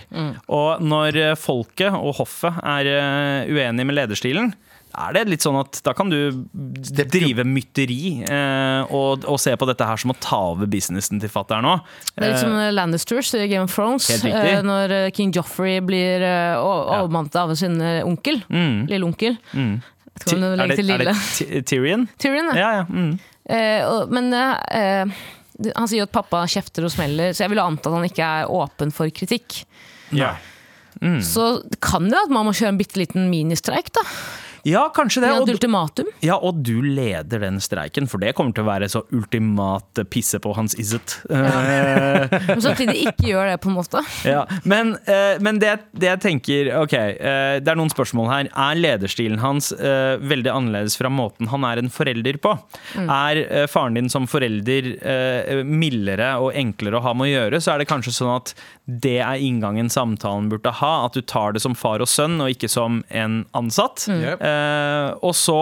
Speaker 2: Og når eh, folket og hoffet er eh, uenige med lederstilen, da er det litt sånn at da kan du drive mytteri eh, og, og se på dette her som å ta over businessen til fatter'n òg.
Speaker 1: Det er litt som eh, Lannisters i Game of Thrones.
Speaker 2: helt riktig.
Speaker 1: eh, Når eh, King Joffrey blir eh, o- overmannet av sin eh, onkel. Lille onkel. Vet ikke om du legger til
Speaker 2: Mm. er det
Speaker 1: lille.
Speaker 2: Ty- Tyrion?
Speaker 1: Tyrion, ja.
Speaker 2: Ja, ja. Mm.
Speaker 1: Eh, og- Men eh, eh, han sier jo at pappa kjefter og smeller, så jeg ville anta at han ikke er åpen for kritikk.
Speaker 2: Ja. Mm.
Speaker 1: Så det kan det at man må kjøre en bitte liten ministreik, da.
Speaker 2: ja, kanskje det.
Speaker 1: Ja,
Speaker 2: Og,
Speaker 1: et ultimatum.
Speaker 2: Ja, og du leder den streiken, for det kommer til å være så ultimat pisse på hans izzet. Eh,
Speaker 1: Men samtidig ikke gjør det, på en måte.
Speaker 2: ja. Men, eh, men det, det jeg tenker Ok, eh, det er noen spørsmål her. Er lederstilen hans eh, veldig annerledes fra måten han er en forelder på? Er eh, faren din som forelder eh, mildere og enklere å ha med å gjøre, så er det kanskje sånn at det er inngangen samtalen burde ha. At du tar det som far og sønn, og ikke som en ansatt.
Speaker 4: Yep.
Speaker 2: Eh, og så,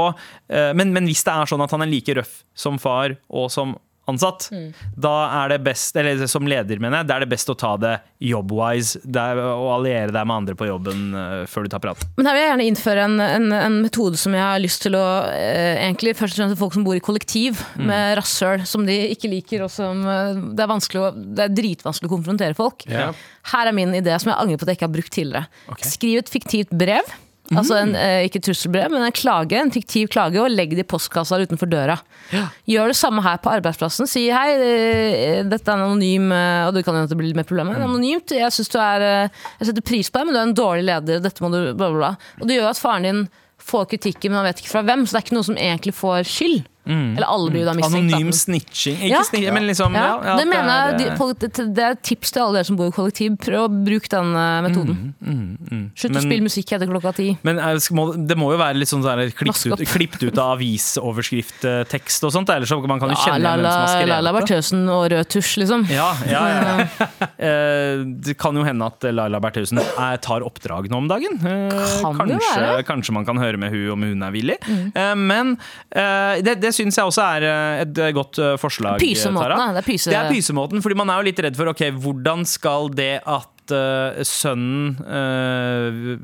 Speaker 2: eh, men, men hvis det er sånn at han er like røff som far og som ansatt,
Speaker 1: Mm.
Speaker 2: da er det best, eller som leder, mener jeg, da er det best å ta det job-wise det er og alliere deg med andre på jobben eh, før du tar praten.
Speaker 1: Men her vil jeg gjerne innføre en, en, en metode som jeg har lyst til å eh, egentlig Først og fremst til folk som bor i kollektiv med rasshøl som de ikke liker, og som eh, det er, vanskelig å, det er dritvanskelig å konfrontere folk.
Speaker 4: Ja.
Speaker 1: Her er min idé som jeg angrer på at jeg ikke har brukt tidligere. Skriv et fiktivt brev. Altså en, eh, ikke et trusselbrev, men en klage, en fiktiv klage, og legg det i postkassa utenfor døra. Gjør det samme her på arbeidsplassen. Si hei, eh, dette er en anonym eh, Og du kan jo at det blir litt mer problemer. Anonymt. Jeg synes du er eh, Jeg setter pris på deg, men du er en dårlig leder. Dette må du bla, bla, bla. Og det gjør at faren din får kritikken, men han vet ikke fra hvem. Så det er ikke noen som egentlig får skyld. Eller alle blir jo da
Speaker 2: Mm.
Speaker 1: mistenkt. da.
Speaker 2: Anonym snitching. Ikke
Speaker 1: Ja.
Speaker 2: snitching, men liksom
Speaker 1: Ja,
Speaker 2: ja, at
Speaker 1: det, mener jeg,
Speaker 2: er,
Speaker 1: de,
Speaker 2: eh,
Speaker 1: folk, det, det er et tips til alle dere som bor i kollektiv. Prøv å bruke den eh, metoden. Slutt
Speaker 2: Mm, Men-
Speaker 1: å spille musikk etter klokka ti.
Speaker 2: Men er- sk- må- det må jo være litt sånn der klippet,
Speaker 1: Vask
Speaker 2: ut,
Speaker 1: opp.
Speaker 2: klippet ut av avisoverskrifttekst og sånt, ellers så man kan jo
Speaker 1: Ja,
Speaker 2: kjenne
Speaker 1: Ah, la,
Speaker 2: igjen hvem
Speaker 1: la,
Speaker 2: som har skrevet
Speaker 1: Laila
Speaker 2: det.
Speaker 1: Bertheussen og rød tusj, liksom.
Speaker 2: Ja, ja, ja. Eh, Det kan jo hende at Laila Bertheussen er- tar oppdrag nå om dagen. Eh,
Speaker 1: Kan det Mm.
Speaker 2: kanskje,
Speaker 1: være?
Speaker 2: kanskje man kan høre med hun om hun er villig. Eh, Men eh, det, det syns jeg også er eh, et godt eh, forslag.
Speaker 1: Pysemåten,
Speaker 2: Tara.
Speaker 1: da. Det er pyse-
Speaker 2: Det er pysemåten, fordi man er jo litt redd for ok, hvordan skal det at eh, sønnen eh,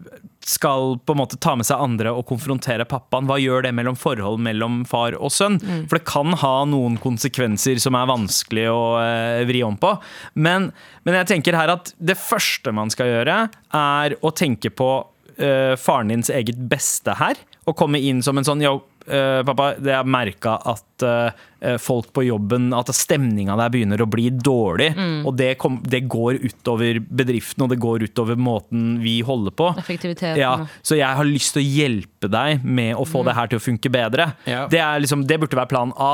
Speaker 2: skal på en måte ta med seg andre og konfrontere pappaen. Hva gjør det mellom forhold mellom far og sønn?
Speaker 1: Mm.
Speaker 2: For det kan ha noen konsekvenser som er vanskelig å eh, vri om på. Men, men jeg tenker her at det første man skal gjøre, er å tenke på eh, faren dins eget beste her. Og komme inn som en sånn Yo, eh, pappa, det jeg merka at eh, folk på jobben At stemninga der begynner å bli dårlig.
Speaker 1: Mm.
Speaker 2: Og det, kom, det går utover bedriften, og det går utover måten vi holder på.
Speaker 1: Effektiviteten. Mm.
Speaker 2: Ja, så jeg har lyst til å hjelpe deg med å få det her til å funke bedre.
Speaker 4: Ja.
Speaker 2: Det, er liksom, det burde være plan A.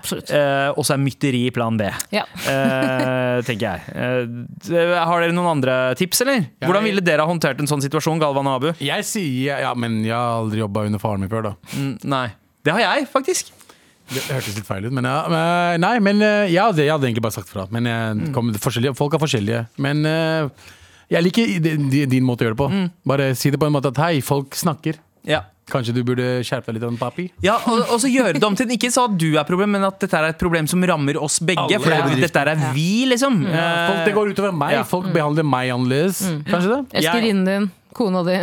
Speaker 1: Absolutt.
Speaker 2: Eh, og så er mytteri plan B,
Speaker 1: Ja.
Speaker 2: eh, tenker jeg. Eh, har dere noen andre tips, eller?
Speaker 4: Ja,
Speaker 2: Hvordan
Speaker 4: jeg-
Speaker 2: ville dere ha håndtert en sånn situasjon, Galvan og Abu?
Speaker 4: Jeg sier ja, men jeg har aldri jobba under faren min før, da.
Speaker 2: Mm, nei. Det har jeg, faktisk.
Speaker 4: Det hørtes litt feil ut, men ja. men- Nei, men eh, ja, det, jeg hadde egentlig bare sagt fra. Men jeg, kom, forskjellige, folk er forskjellige. Men eh, jeg liker i- din, din måte å gjøre det på. Bare si det på en måte at hei, folk snakker.
Speaker 2: Ja.
Speaker 4: Kanskje du burde skjerpe deg litt, om papi?
Speaker 2: Ja, og, og så gjøre det om til ikke så at du er problem, men at dette er et problem som rammer oss begge.
Speaker 4: Alle.
Speaker 2: For det,
Speaker 4: Ja.
Speaker 2: er- dette er vi, liksom. Eh,
Speaker 4: Folk, det går utover meg.
Speaker 2: ja.
Speaker 4: Folk behandler meg annerledes. Kanskje
Speaker 1: Mm.
Speaker 4: det?
Speaker 1: Elskerinnen din, kona di.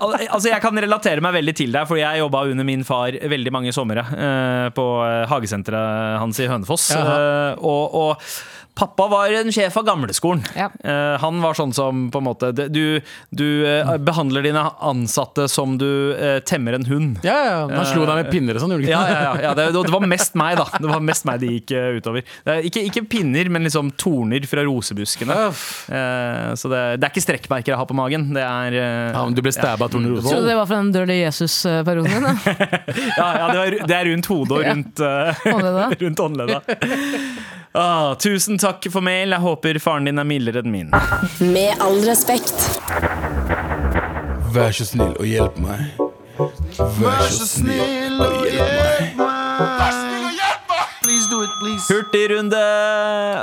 Speaker 2: Al- Altså Jeg kan relatere meg veldig til deg, Fordi jeg jobba under min far veldig mange somre eh, på eh, hagesenteret hans i Hønefoss.
Speaker 4: Jaha.
Speaker 2: Eh, og, og pappa var en sjef av gamleskolen.
Speaker 1: Ja.
Speaker 2: Eh, han var sånn som på en måte det- Du, du eh, behandler dine ansatte som du eh, temmer en hund.
Speaker 4: Ja, ja. Han slo deg med pinner og sånn, gjorde du ikke?
Speaker 2: Ja, ja, ja, ja det, og det var mest meg, da. Det var mest meg det gikk eh, utover. Det er Ikke, ikke pinner, men liksom torner fra rosebuskene. Eh, så det, det er ikke strekkmerker jeg har på magen. Det er eh,
Speaker 4: Ja, men du ble stabba av Torne
Speaker 1: Trodde
Speaker 4: Rosvold.
Speaker 1: det var fra den Dirty Jesus-perioden din. da.
Speaker 2: Ja, ja det, er, det er rundt hodet og rundt, eh,
Speaker 1: Håndleddet.
Speaker 2: rundt håndleddet. Ah, tusen takk for mail. Jeg håper faren din er mildere enn min.
Speaker 5: Med all respekt.
Speaker 6: Vær så snill og hjelp meg.
Speaker 3: Vær så snill og hjelp meg. Please do it, please.
Speaker 2: Hurtigrunde!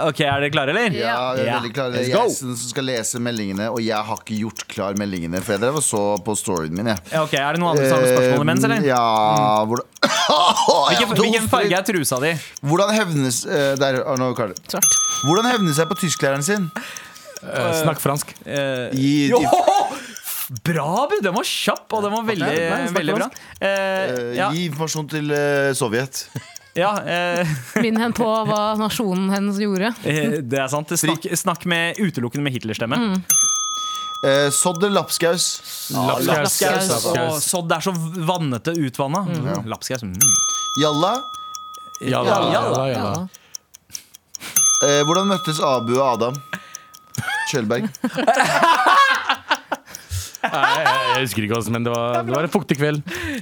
Speaker 2: Ok, Er dere klare, eller?
Speaker 3: Ja, jeg er
Speaker 2: Ja.
Speaker 3: veldig klar. Det
Speaker 2: Let's
Speaker 3: er
Speaker 2: go.
Speaker 3: jeg som skal lese meldingene, og jeg har ikke gjort klar meldingene. For jeg drev og så på storyen min, jeg.
Speaker 2: Ja, ok, Er det noen andre som har spørsmål imens, eller?
Speaker 3: Eh,
Speaker 2: Mm.
Speaker 3: Ja, hvordan Jeg
Speaker 2: Hvilken,
Speaker 3: har
Speaker 2: hvilken
Speaker 3: to
Speaker 2: farge
Speaker 3: stryk.
Speaker 2: er trusa di?
Speaker 3: Hvordan hevnes eh, Der, Arno Karl.
Speaker 1: Svart.
Speaker 3: Hvordan hevne seg på tysklæreren sin?
Speaker 4: Eh, Snakk fransk.
Speaker 2: Eh,
Speaker 3: I,
Speaker 2: Jo!
Speaker 3: i,
Speaker 2: Bra, Bu! Den var kjapp, og den var veldig,
Speaker 4: Ja, snakk
Speaker 2: veldig bra. Eh,
Speaker 3: eh,
Speaker 2: ja,
Speaker 3: gi informasjon til eh, Sovjet.
Speaker 2: ja eh,
Speaker 1: Minn henne på hva nasjonen hennes gjorde.
Speaker 2: eh, det er sant. Snakk, snakk med utelukkende med Hitlerstemme.
Speaker 3: Eh, Sodd eller lapskaus?
Speaker 4: Lapskaus.
Speaker 1: Lapskaus.
Speaker 2: Og Sodd er så vannete, utvanna. Mm. Lapskaus. Mm.
Speaker 3: Jalla?
Speaker 4: Ja da. Ja, da, ja, da.
Speaker 3: Eh, hvordan møttes Abu og Adam? Kjølberg.
Speaker 4: Nei, jeg, jeg husker ikke, også, men det var, det var en fuktig kveld.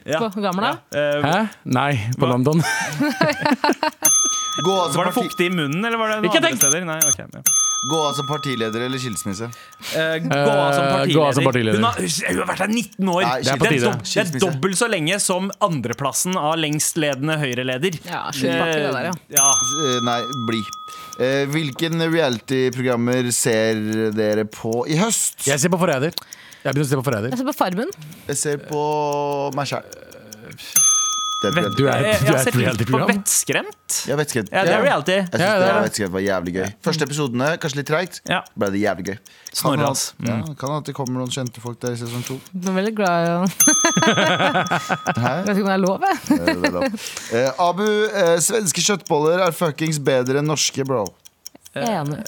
Speaker 1: På gamla.
Speaker 2: Eh,
Speaker 4: Hæ? Nei, på London.
Speaker 3: Gå av som,
Speaker 2: var det
Speaker 3: parti
Speaker 2: fuktig i munnen, eller var det noen
Speaker 4: Ikke
Speaker 2: andre
Speaker 4: tenk!
Speaker 2: steder? Nei, ok, ja.
Speaker 3: gå av som partileder eller skilsmisse.
Speaker 2: Eh, gå av som
Speaker 4: Eh,
Speaker 2: partileder.
Speaker 4: gå av som partileder.
Speaker 2: Hun, har, hun har vært her 19 år! det,
Speaker 3: Nei,
Speaker 2: er
Speaker 3: på
Speaker 2: dob-
Speaker 4: tide.
Speaker 2: det er dobbelt så lenge som andreplassen av lengstledende Høyre-leder.
Speaker 1: Ja, sluttpakke, det der, ja.
Speaker 2: ja.
Speaker 3: Eh, nei, bli. Eh, hvilken reality-programmer ser dere på i høst?
Speaker 4: Jeg ser på Forræder. Jeg begynner å se på Forræder.
Speaker 1: Jeg ser på Farmen.
Speaker 3: Jeg ser på meg sjæl.
Speaker 2: Vet-
Speaker 4: Du er-
Speaker 2: Jeg,
Speaker 4: du
Speaker 2: jeg
Speaker 4: er
Speaker 2: har
Speaker 4: et
Speaker 2: sett litt på
Speaker 4: reality-program.
Speaker 2: Vettskremt.
Speaker 3: Jeg vet ikke.
Speaker 2: Ja, det er reality.
Speaker 3: Jeg synes
Speaker 4: Ja,
Speaker 3: det,
Speaker 4: det er
Speaker 3: var
Speaker 4: det.
Speaker 3: vet ikke, det var jævlig gøy. Første episodene, kanskje litt treigt.
Speaker 2: Ja.
Speaker 3: Ble det jævlig gøy. Kan
Speaker 2: Snorre,
Speaker 3: ha-
Speaker 4: altså.
Speaker 2: ass.
Speaker 3: Ja,
Speaker 4: Mm.
Speaker 3: kan at det kommer noen kjente folk der i sesong to.
Speaker 1: Jeg er veldig glad i han.
Speaker 3: Hæ?
Speaker 1: Vet ikke om det er lov, jeg.
Speaker 3: Eh, det er lov. Eh, Abu, eh, svenske kjøttboller er fuckings bedre enn norske, bro.
Speaker 2: Eh,
Speaker 1: Enig.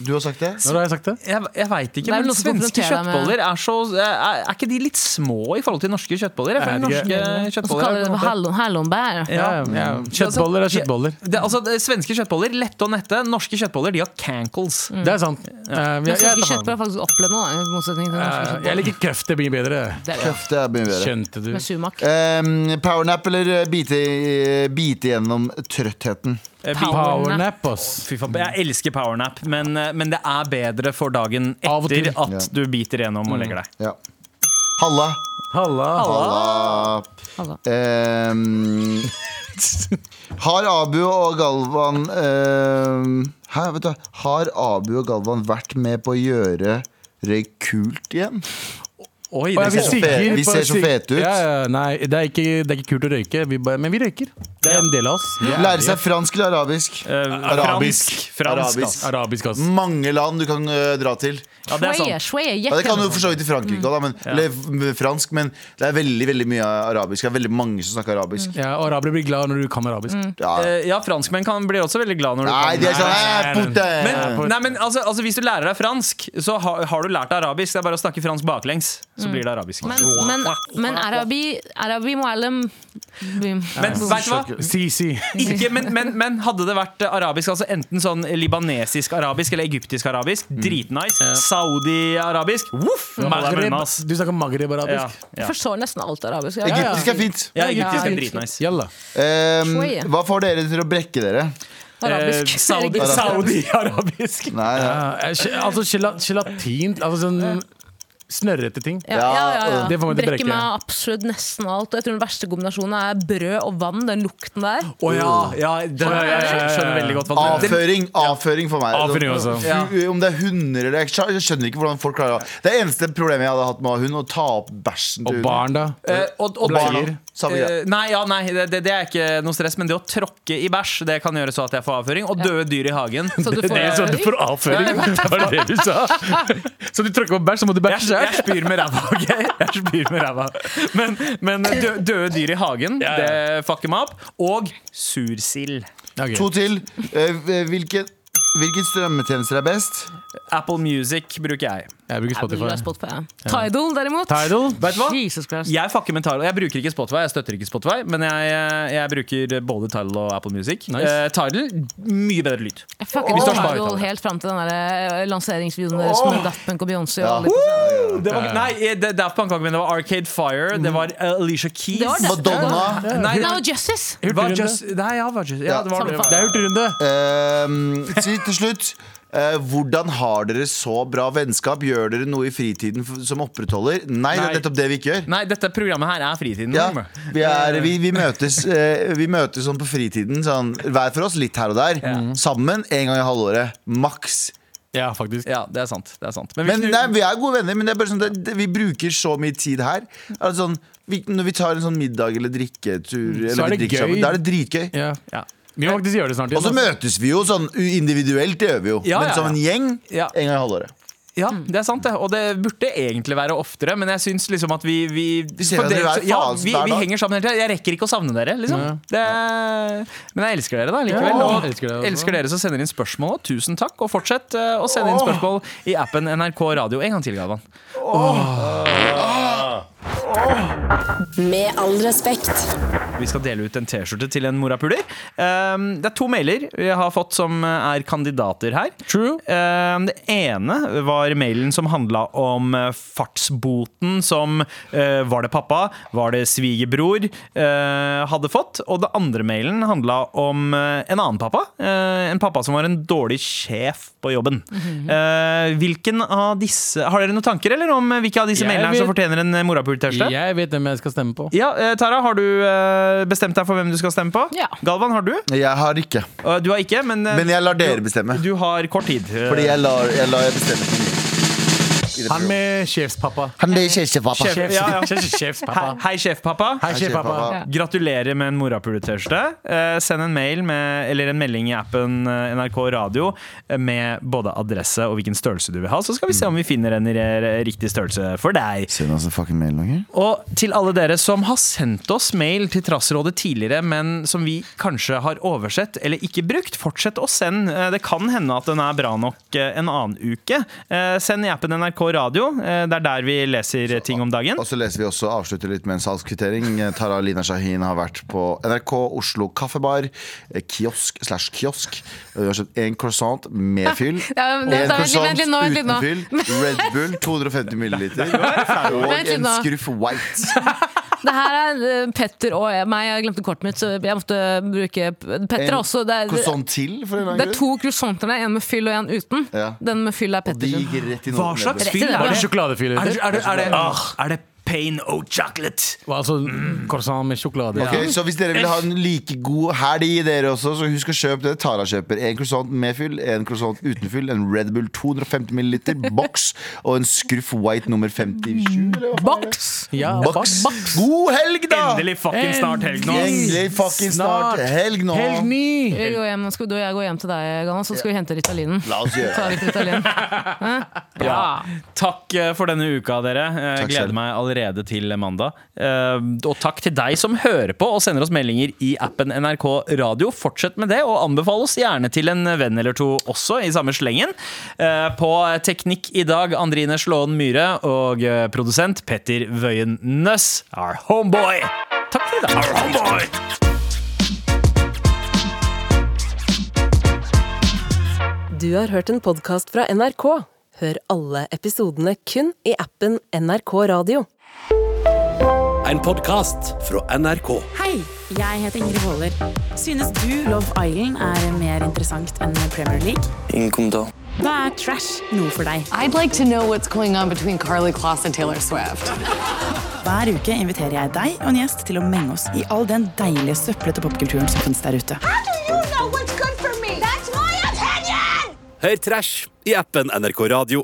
Speaker 3: Du har sagt det?
Speaker 4: Når har jeg sagt det?
Speaker 2: Jeg, jeg veit ikke,
Speaker 1: Det er vel
Speaker 2: men
Speaker 1: noe som
Speaker 2: svenske
Speaker 1: konfronterer deg med-
Speaker 2: kjøttboller er så Er, er ikke de litt små i forhold til norske kjøttboller? Jeg
Speaker 4: Er
Speaker 2: føler
Speaker 4: de ikke?
Speaker 2: norske
Speaker 1: Og så kaller
Speaker 2: kjøttboller er på
Speaker 1: de det
Speaker 2: en
Speaker 1: for
Speaker 2: måte-
Speaker 1: hallon- hallonbær.
Speaker 2: Ja,
Speaker 4: ja. Kjøttboller er kjøttboller.
Speaker 2: Det, altså, det, svenske kjøttboller, lette og nette. Norske kjøttboller, de har cankles.
Speaker 1: Mm.
Speaker 4: Det er sant. Eh, jeg,
Speaker 1: Men
Speaker 4: jeg,
Speaker 1: skal ikke
Speaker 4: jeg,
Speaker 1: kjøttbrød faktisk oppleve noe, da, i motsetning til norske
Speaker 4: Eh, jeg liker krefter mye bedre.
Speaker 1: kjøttbrød.
Speaker 3: Kjøft, det er mye bedre.
Speaker 4: Skjønte du?
Speaker 1: Med sumak.
Speaker 3: Um, powernap eller eh, bite, i- bite gjennom trøttheten?
Speaker 2: Eh, bi-
Speaker 4: Powernap, ass.
Speaker 2: Fy faen, jeg elsker powernap, men, eh, men det er bedre for dagen
Speaker 4: Av og til. Mm.
Speaker 2: etter at du biter gjennom og legger deg.
Speaker 3: Ja. Halla.
Speaker 2: Ah.
Speaker 4: Halla.
Speaker 3: Halla.
Speaker 1: Halla.
Speaker 3: Ehm, har Abu og Galvan ehm, Hæ, vet du Har Abu og Galvan vært med på å gjøre det kult igjen?
Speaker 2: Oi,
Speaker 4: Å, ja,
Speaker 2: det
Speaker 3: ser så
Speaker 4: sigger
Speaker 3: fe- vi
Speaker 4: på-
Speaker 3: ser så fete ut.
Speaker 4: Ja, ja, nei, det er, ikke, det er ikke kult å røyke, vi bare, men vi røyker. Det er en del av oss. Vi er
Speaker 3: Lære
Speaker 4: ærlige.
Speaker 3: seg fransk eller arabisk?
Speaker 4: Eh,
Speaker 2: Arabisk.
Speaker 3: Fransk.
Speaker 2: Fransk,
Speaker 3: Arabisk.
Speaker 2: ass.
Speaker 4: Arabisk, ass.
Speaker 3: Mange land du kan øh, dra til.
Speaker 2: Ja, det er
Speaker 1: Shweye,
Speaker 2: sant.
Speaker 1: shweye,
Speaker 3: Ja, det kan du
Speaker 1: jekke.
Speaker 3: for så vidt i Frankrike også, da,
Speaker 4: Mm.
Speaker 3: men, eller fransk, men det er veldig veldig mye arabisk. Det er veldig mange som snakker arabisk.
Speaker 4: Ja, og arabere blir glad når du kan arabisk.
Speaker 3: Ja.
Speaker 2: Eh, Ja, franskmenn kan, blir også veldig glad når du
Speaker 3: Nei, de er sånn
Speaker 4: Nei,
Speaker 3: «Eh, putte!»
Speaker 2: Men, nei, men altså, altså Hvis du lærer deg fransk, så har, har du lært deg arabisk. Det er bare å snakke fransk baklengs, så blir det arabisk.
Speaker 1: Mm. Men, men, men arabi, arabi muallim Bim.
Speaker 2: Men vet du hva?
Speaker 4: Si, si.
Speaker 2: Ikke, men, men, men hadde det vært arabisk, altså enten sånn libanesisk-arabisk eller egyptisk-arabisk, dritnice. Saudi-arabisk, voff!
Speaker 4: Maghreb.
Speaker 2: Maghreb, ass.
Speaker 4: Du snakker
Speaker 2: Ja,
Speaker 4: magreb-arabisk.
Speaker 2: ja.
Speaker 1: Forstår nesten alt arabisk. Ja.
Speaker 3: Egyptisk er fint.
Speaker 2: ja, egyptisk
Speaker 1: Ja.
Speaker 2: er dritnice.
Speaker 4: Jalla.
Speaker 3: Ehm,
Speaker 1: Shway.
Speaker 3: hva får dere til å brekke dere?
Speaker 2: Eh,
Speaker 1: Arabisk.
Speaker 2: Saudi- Saudi-arabisk.
Speaker 3: Nei, ja.
Speaker 4: Ja, eh, ge- altså gela- gelatin Altså sånn snørrete ting.
Speaker 1: Ja, ja, ja, ja.
Speaker 4: Det får meg til å brekke.
Speaker 1: Brekker meg absolutt nesten alt. Og jeg tror den verste kombinasjonen er brød og vann. Den lukten der.
Speaker 2: Å ja, ja, det,
Speaker 4: ja, ja, ja, ja.
Speaker 2: jeg skjønner veldig godt hva du mener.
Speaker 3: Avføring avføring for meg. Sånn,
Speaker 4: Avføring også.
Speaker 3: Hu- Om det er hunder eller Jeg skjø- jeg skjønner ikke hvordan folk klarer å Det eneste problemet jeg hadde hatt med å ha hund, å ta opp bæsjen til
Speaker 4: Og
Speaker 3: hunden.
Speaker 4: barn, da.
Speaker 2: Eh, og, og
Speaker 3: Bleier.
Speaker 2: barna.
Speaker 3: Samme greie.
Speaker 2: Eh, nei, ja, nei det, det, det er ikke noe stress, men det å tråkke i bæsj Det kan gjøre så at jeg får avføring. Og døde dyr i hagen.
Speaker 1: Så sånn, du får,
Speaker 4: Så du får avføring. Det var det du sa. Så du tråkker på bæsj, så må du
Speaker 2: Jeg,
Speaker 4: bæsje
Speaker 2: jeg
Speaker 4: sjøl.
Speaker 2: spyr med ræva, OK? Jeg spyr med ræva. Men, men dø, døde dyr i hagen,
Speaker 4: Ja, ja.
Speaker 2: det fucker meg opp. Og sursild.
Speaker 3: To til. Eh, hvilke, hvilke strømmetjenester er best?
Speaker 2: Apple Music bruker jeg.
Speaker 4: Jeg bruker
Speaker 1: Jeg vil ha
Speaker 4: Spotify.
Speaker 1: Spotify. Tidal, derimot.
Speaker 4: Tidal.
Speaker 2: Vet du hva?
Speaker 1: Jesus Christ.
Speaker 2: Jeg fucker med Tidal. Jeg bruker ikke Spotify, jeg støtter ikke Spotify, men jeg, eh, jeg bruker både Tidal og Apple Music.
Speaker 4: Nice.
Speaker 2: Eh, Tidal, mye bedre lyd.
Speaker 1: Jeg fucker med
Speaker 2: Vi tar spar i
Speaker 1: Tidal
Speaker 2: Tidal.
Speaker 1: helt fram til den der eh, lanseringsvideoen deres med Daft Punk og Beyoncé. Og alle de-
Speaker 2: Det var,
Speaker 4: Eh.
Speaker 2: nei, eh, det, Daft Punk var ikke med. Det var Arcade Fire, det var eh, Alicia Keys.
Speaker 1: Det var det.
Speaker 3: Madonna.
Speaker 2: Nei,
Speaker 1: Nei,
Speaker 2: nei,
Speaker 1: og Justice!
Speaker 2: det var just, nei, ja, det var just, ja, det var
Speaker 1: Samme faen.
Speaker 4: Det er hurtigrunde.
Speaker 3: Ehm, si til slutt eh, hvordan har dere så bra vennskap? Gjør dere noe i fritiden f- som opprettholder? Nei, det er
Speaker 2: Nei.
Speaker 3: nettopp det vi ikke gjør.
Speaker 2: Nei, dette programmet her er fritiden.
Speaker 3: Ja,
Speaker 2: vår.
Speaker 3: vi, er, vi, vi, møtes, eh, vi møtes sånn på fritiden, sånn, hver for oss, litt her og der. Sammen en gang i halvåret. Maks.
Speaker 4: Ja, faktisk.
Speaker 2: Ja, det er sant. Det er sant. Men, vi
Speaker 3: Men
Speaker 2: snur-
Speaker 3: nei, Vi er gode venner, men det er bare sånn, det, det, vi bruker så mye tid her. Er det sånn, vi, når vi tar en sånn middag eller drikketur, eller vi
Speaker 4: er det
Speaker 3: drikker sammen,
Speaker 4: gøy.
Speaker 3: da er det dritgøy.
Speaker 4: Ja.
Speaker 2: ja.
Speaker 4: Vi må faktisk gjøre det snart.
Speaker 3: Og så
Speaker 4: igjen, ass.
Speaker 3: møtes vi jo sånn u- individuelt, det gjør vi jo.
Speaker 2: Ja,
Speaker 3: men
Speaker 2: ja,
Speaker 3: som en gjeng,
Speaker 2: Ja.
Speaker 3: en gang i halvåret.
Speaker 2: ja, det er sant, det. Og det burde egentlig være oftere, men jeg syns liksom at vi Vi,
Speaker 3: ser at
Speaker 2: for dere-
Speaker 3: dere er
Speaker 2: ja,
Speaker 3: faen
Speaker 2: vi,
Speaker 3: hver
Speaker 2: vi
Speaker 3: dag.
Speaker 2: henger sammen hele tida. Jeg rekker ikke å savne dere, liksom. Det er, men jeg elsker dere, da, likevel.
Speaker 4: Ja,
Speaker 2: Og
Speaker 4: elsker
Speaker 2: elsker,
Speaker 4: dere også.
Speaker 2: dere som sender inn spørsmål. og Tusen takk. Og fortsett eh, å sende inn spørsmål i appen NRK Radio. En gang til, Galvan.
Speaker 5: Med all respekt.
Speaker 2: Vi skal dele ut en T-skjorte til en morapuler. Um, det er to mailer jeg har fått som er kandidater her.
Speaker 4: True.
Speaker 2: Um, det ene var mailen som handla om eh, fartsboten som eh, Var det pappa? Var det svigerbror? eh, hadde fått. Og det andre mailen handla om eh, en annen pappa. eh, en pappa som var en dårlig sjef på jobben.
Speaker 4: Mhm.
Speaker 2: Eh, hvilken av disse Har dere noen tanker eller om eh, hvilke av disse
Speaker 4: Jeg
Speaker 2: mailene her som
Speaker 4: vil-
Speaker 2: fortjener en eh, morapuler-T-skjorte?
Speaker 4: Jeg vet hvem jeg skal stemme på.
Speaker 2: Ja, eh, Tara, har du eh, bestemt deg for hvem du skal stemme på?
Speaker 1: Ja.
Speaker 2: Galvan, har du?
Speaker 3: Jeg har ikke.
Speaker 2: Eh, Du har ikke, men, eh,
Speaker 3: Men jeg lar dere bestemme.
Speaker 2: Du har kort tid. eh,
Speaker 3: Fordi jeg lar, jeg lar jeg bestemme. for mye i det
Speaker 4: Han
Speaker 3: programmet.
Speaker 4: med sjefspappa.
Speaker 3: Han blir kjærestepappa.
Speaker 2: Sjef, ja, ja. Hei,
Speaker 4: Sjefspappa.
Speaker 2: hei sjefpappa.
Speaker 4: Hei, sjefpappa.
Speaker 3: Sjefpappa.
Speaker 2: Gratulerer med en morapuletørste. Eh, send en mail med, eller en melding i appen eh, NRK Radio eh, med både adresse og hvilken størrelse du vil ha, så skal vi se om vi finner en re- riktig størrelse for deg.
Speaker 3: Send oss en fucking mail noen
Speaker 2: Og til alle dere som har sendt oss mail til Trassrådet tidligere, men som vi kanskje har oversett eller ikke brukt, fortsett å sende. Eh, Det kan hende at den er bra nok eh, en annen uke. Eh, Send i appen NRK Radio. Eh, Det er der vi leser ting om dagen.
Speaker 3: Og så leser vi også avslutter litt med en salgskvittering. Tara Lina Shahin har vært på NRK Oslo Kaffebar, eh, kiosk slash kiosk. Hun har kjøpt én croissant med fyll.
Speaker 1: Ja,
Speaker 3: En
Speaker 1: men det- vent litt, vent litt nå, vent litt
Speaker 3: uten
Speaker 1: nå.
Speaker 3: fyll. Red Bull 250 milliliter. Og
Speaker 1: Vent litt
Speaker 3: en
Speaker 1: nå.
Speaker 3: skruff white.
Speaker 1: Det her er eh, Petter og jeg- meg. Jeg glemte kortet mitt, så jeg måtte bruke Petter er også. Det er,
Speaker 3: Croissant til, for en eller
Speaker 1: det
Speaker 3: annen
Speaker 1: er
Speaker 3: grunn.
Speaker 1: to croissanter der, en med fyll og en uten.
Speaker 3: Ja.
Speaker 1: Den med fyll er
Speaker 3: De
Speaker 1: Petter sin.
Speaker 3: gikk rett i
Speaker 2: Hva
Speaker 3: noen
Speaker 2: slags
Speaker 1: Rett i
Speaker 2: fyll
Speaker 1: det.
Speaker 2: er
Speaker 4: Har du
Speaker 2: det?
Speaker 4: sjokoladefyller?
Speaker 2: Er det, er det, er det,
Speaker 4: Ah.
Speaker 2: er det pain, oh chocolate.
Speaker 4: Altså croissant med sjokolade.
Speaker 3: Ok, Så hvis dere vil ha en like god helg, dere også, så husk å kjøpe det Tara kjøper. En croissant med fyll, en croissant uten fyll, en Red Bull 250 ml boks og en Scruff White nummer 57. eller hva faen er det?
Speaker 1: Boks!
Speaker 4: Ja,
Speaker 3: Boks. God helg, da!
Speaker 2: Endelig fucking snart helg nå. ass.
Speaker 3: Endelig fucking snart helg nå.
Speaker 4: Helg ny!
Speaker 1: Jeg går hjem, nå skal du og jeg går hjem til deg, Galvan, så skal vi hente Ritalinen.
Speaker 3: La oss gjøre
Speaker 1: Ta
Speaker 3: det.
Speaker 1: litt Ritalin. Hæ? Ja.
Speaker 2: Takk eh, for denne uka, dere. Eh,
Speaker 3: Takk
Speaker 2: Gleder
Speaker 3: selv.
Speaker 2: meg allerede til mandag. Eh, Og takk til deg som hører på og sender oss meldinger i appen NRK Radio. Fortsett med det, og anbefal oss gjerne til en venn eller to også, i samme slengen. Eh, På Teknikk i dag, Andrine Slåen Myhre, og eh, produsent Petter Wøien Nøss, our homeboy. Takk for i dag. Our homeboy.
Speaker 7: Du har hørt en podkast fra NRK. Hør alle episodene kun i appen NRK Radio.
Speaker 6: En podkast fra NRK.
Speaker 8: Hei, jeg heter Ingrid Waaler. Synes du Love Island er mer interessant enn Premier League? Ingen kommentar. Da er trash noe for deg.
Speaker 9: I'd like to know what's going on between Carly Kloss and Taylor Swift.
Speaker 8: Hver uke inviterer jeg deg og en gjest til å menge oss i all den deilige søplete popkulturen som finnes der ute.
Speaker 6: Hør Trash i appen NRK Radio.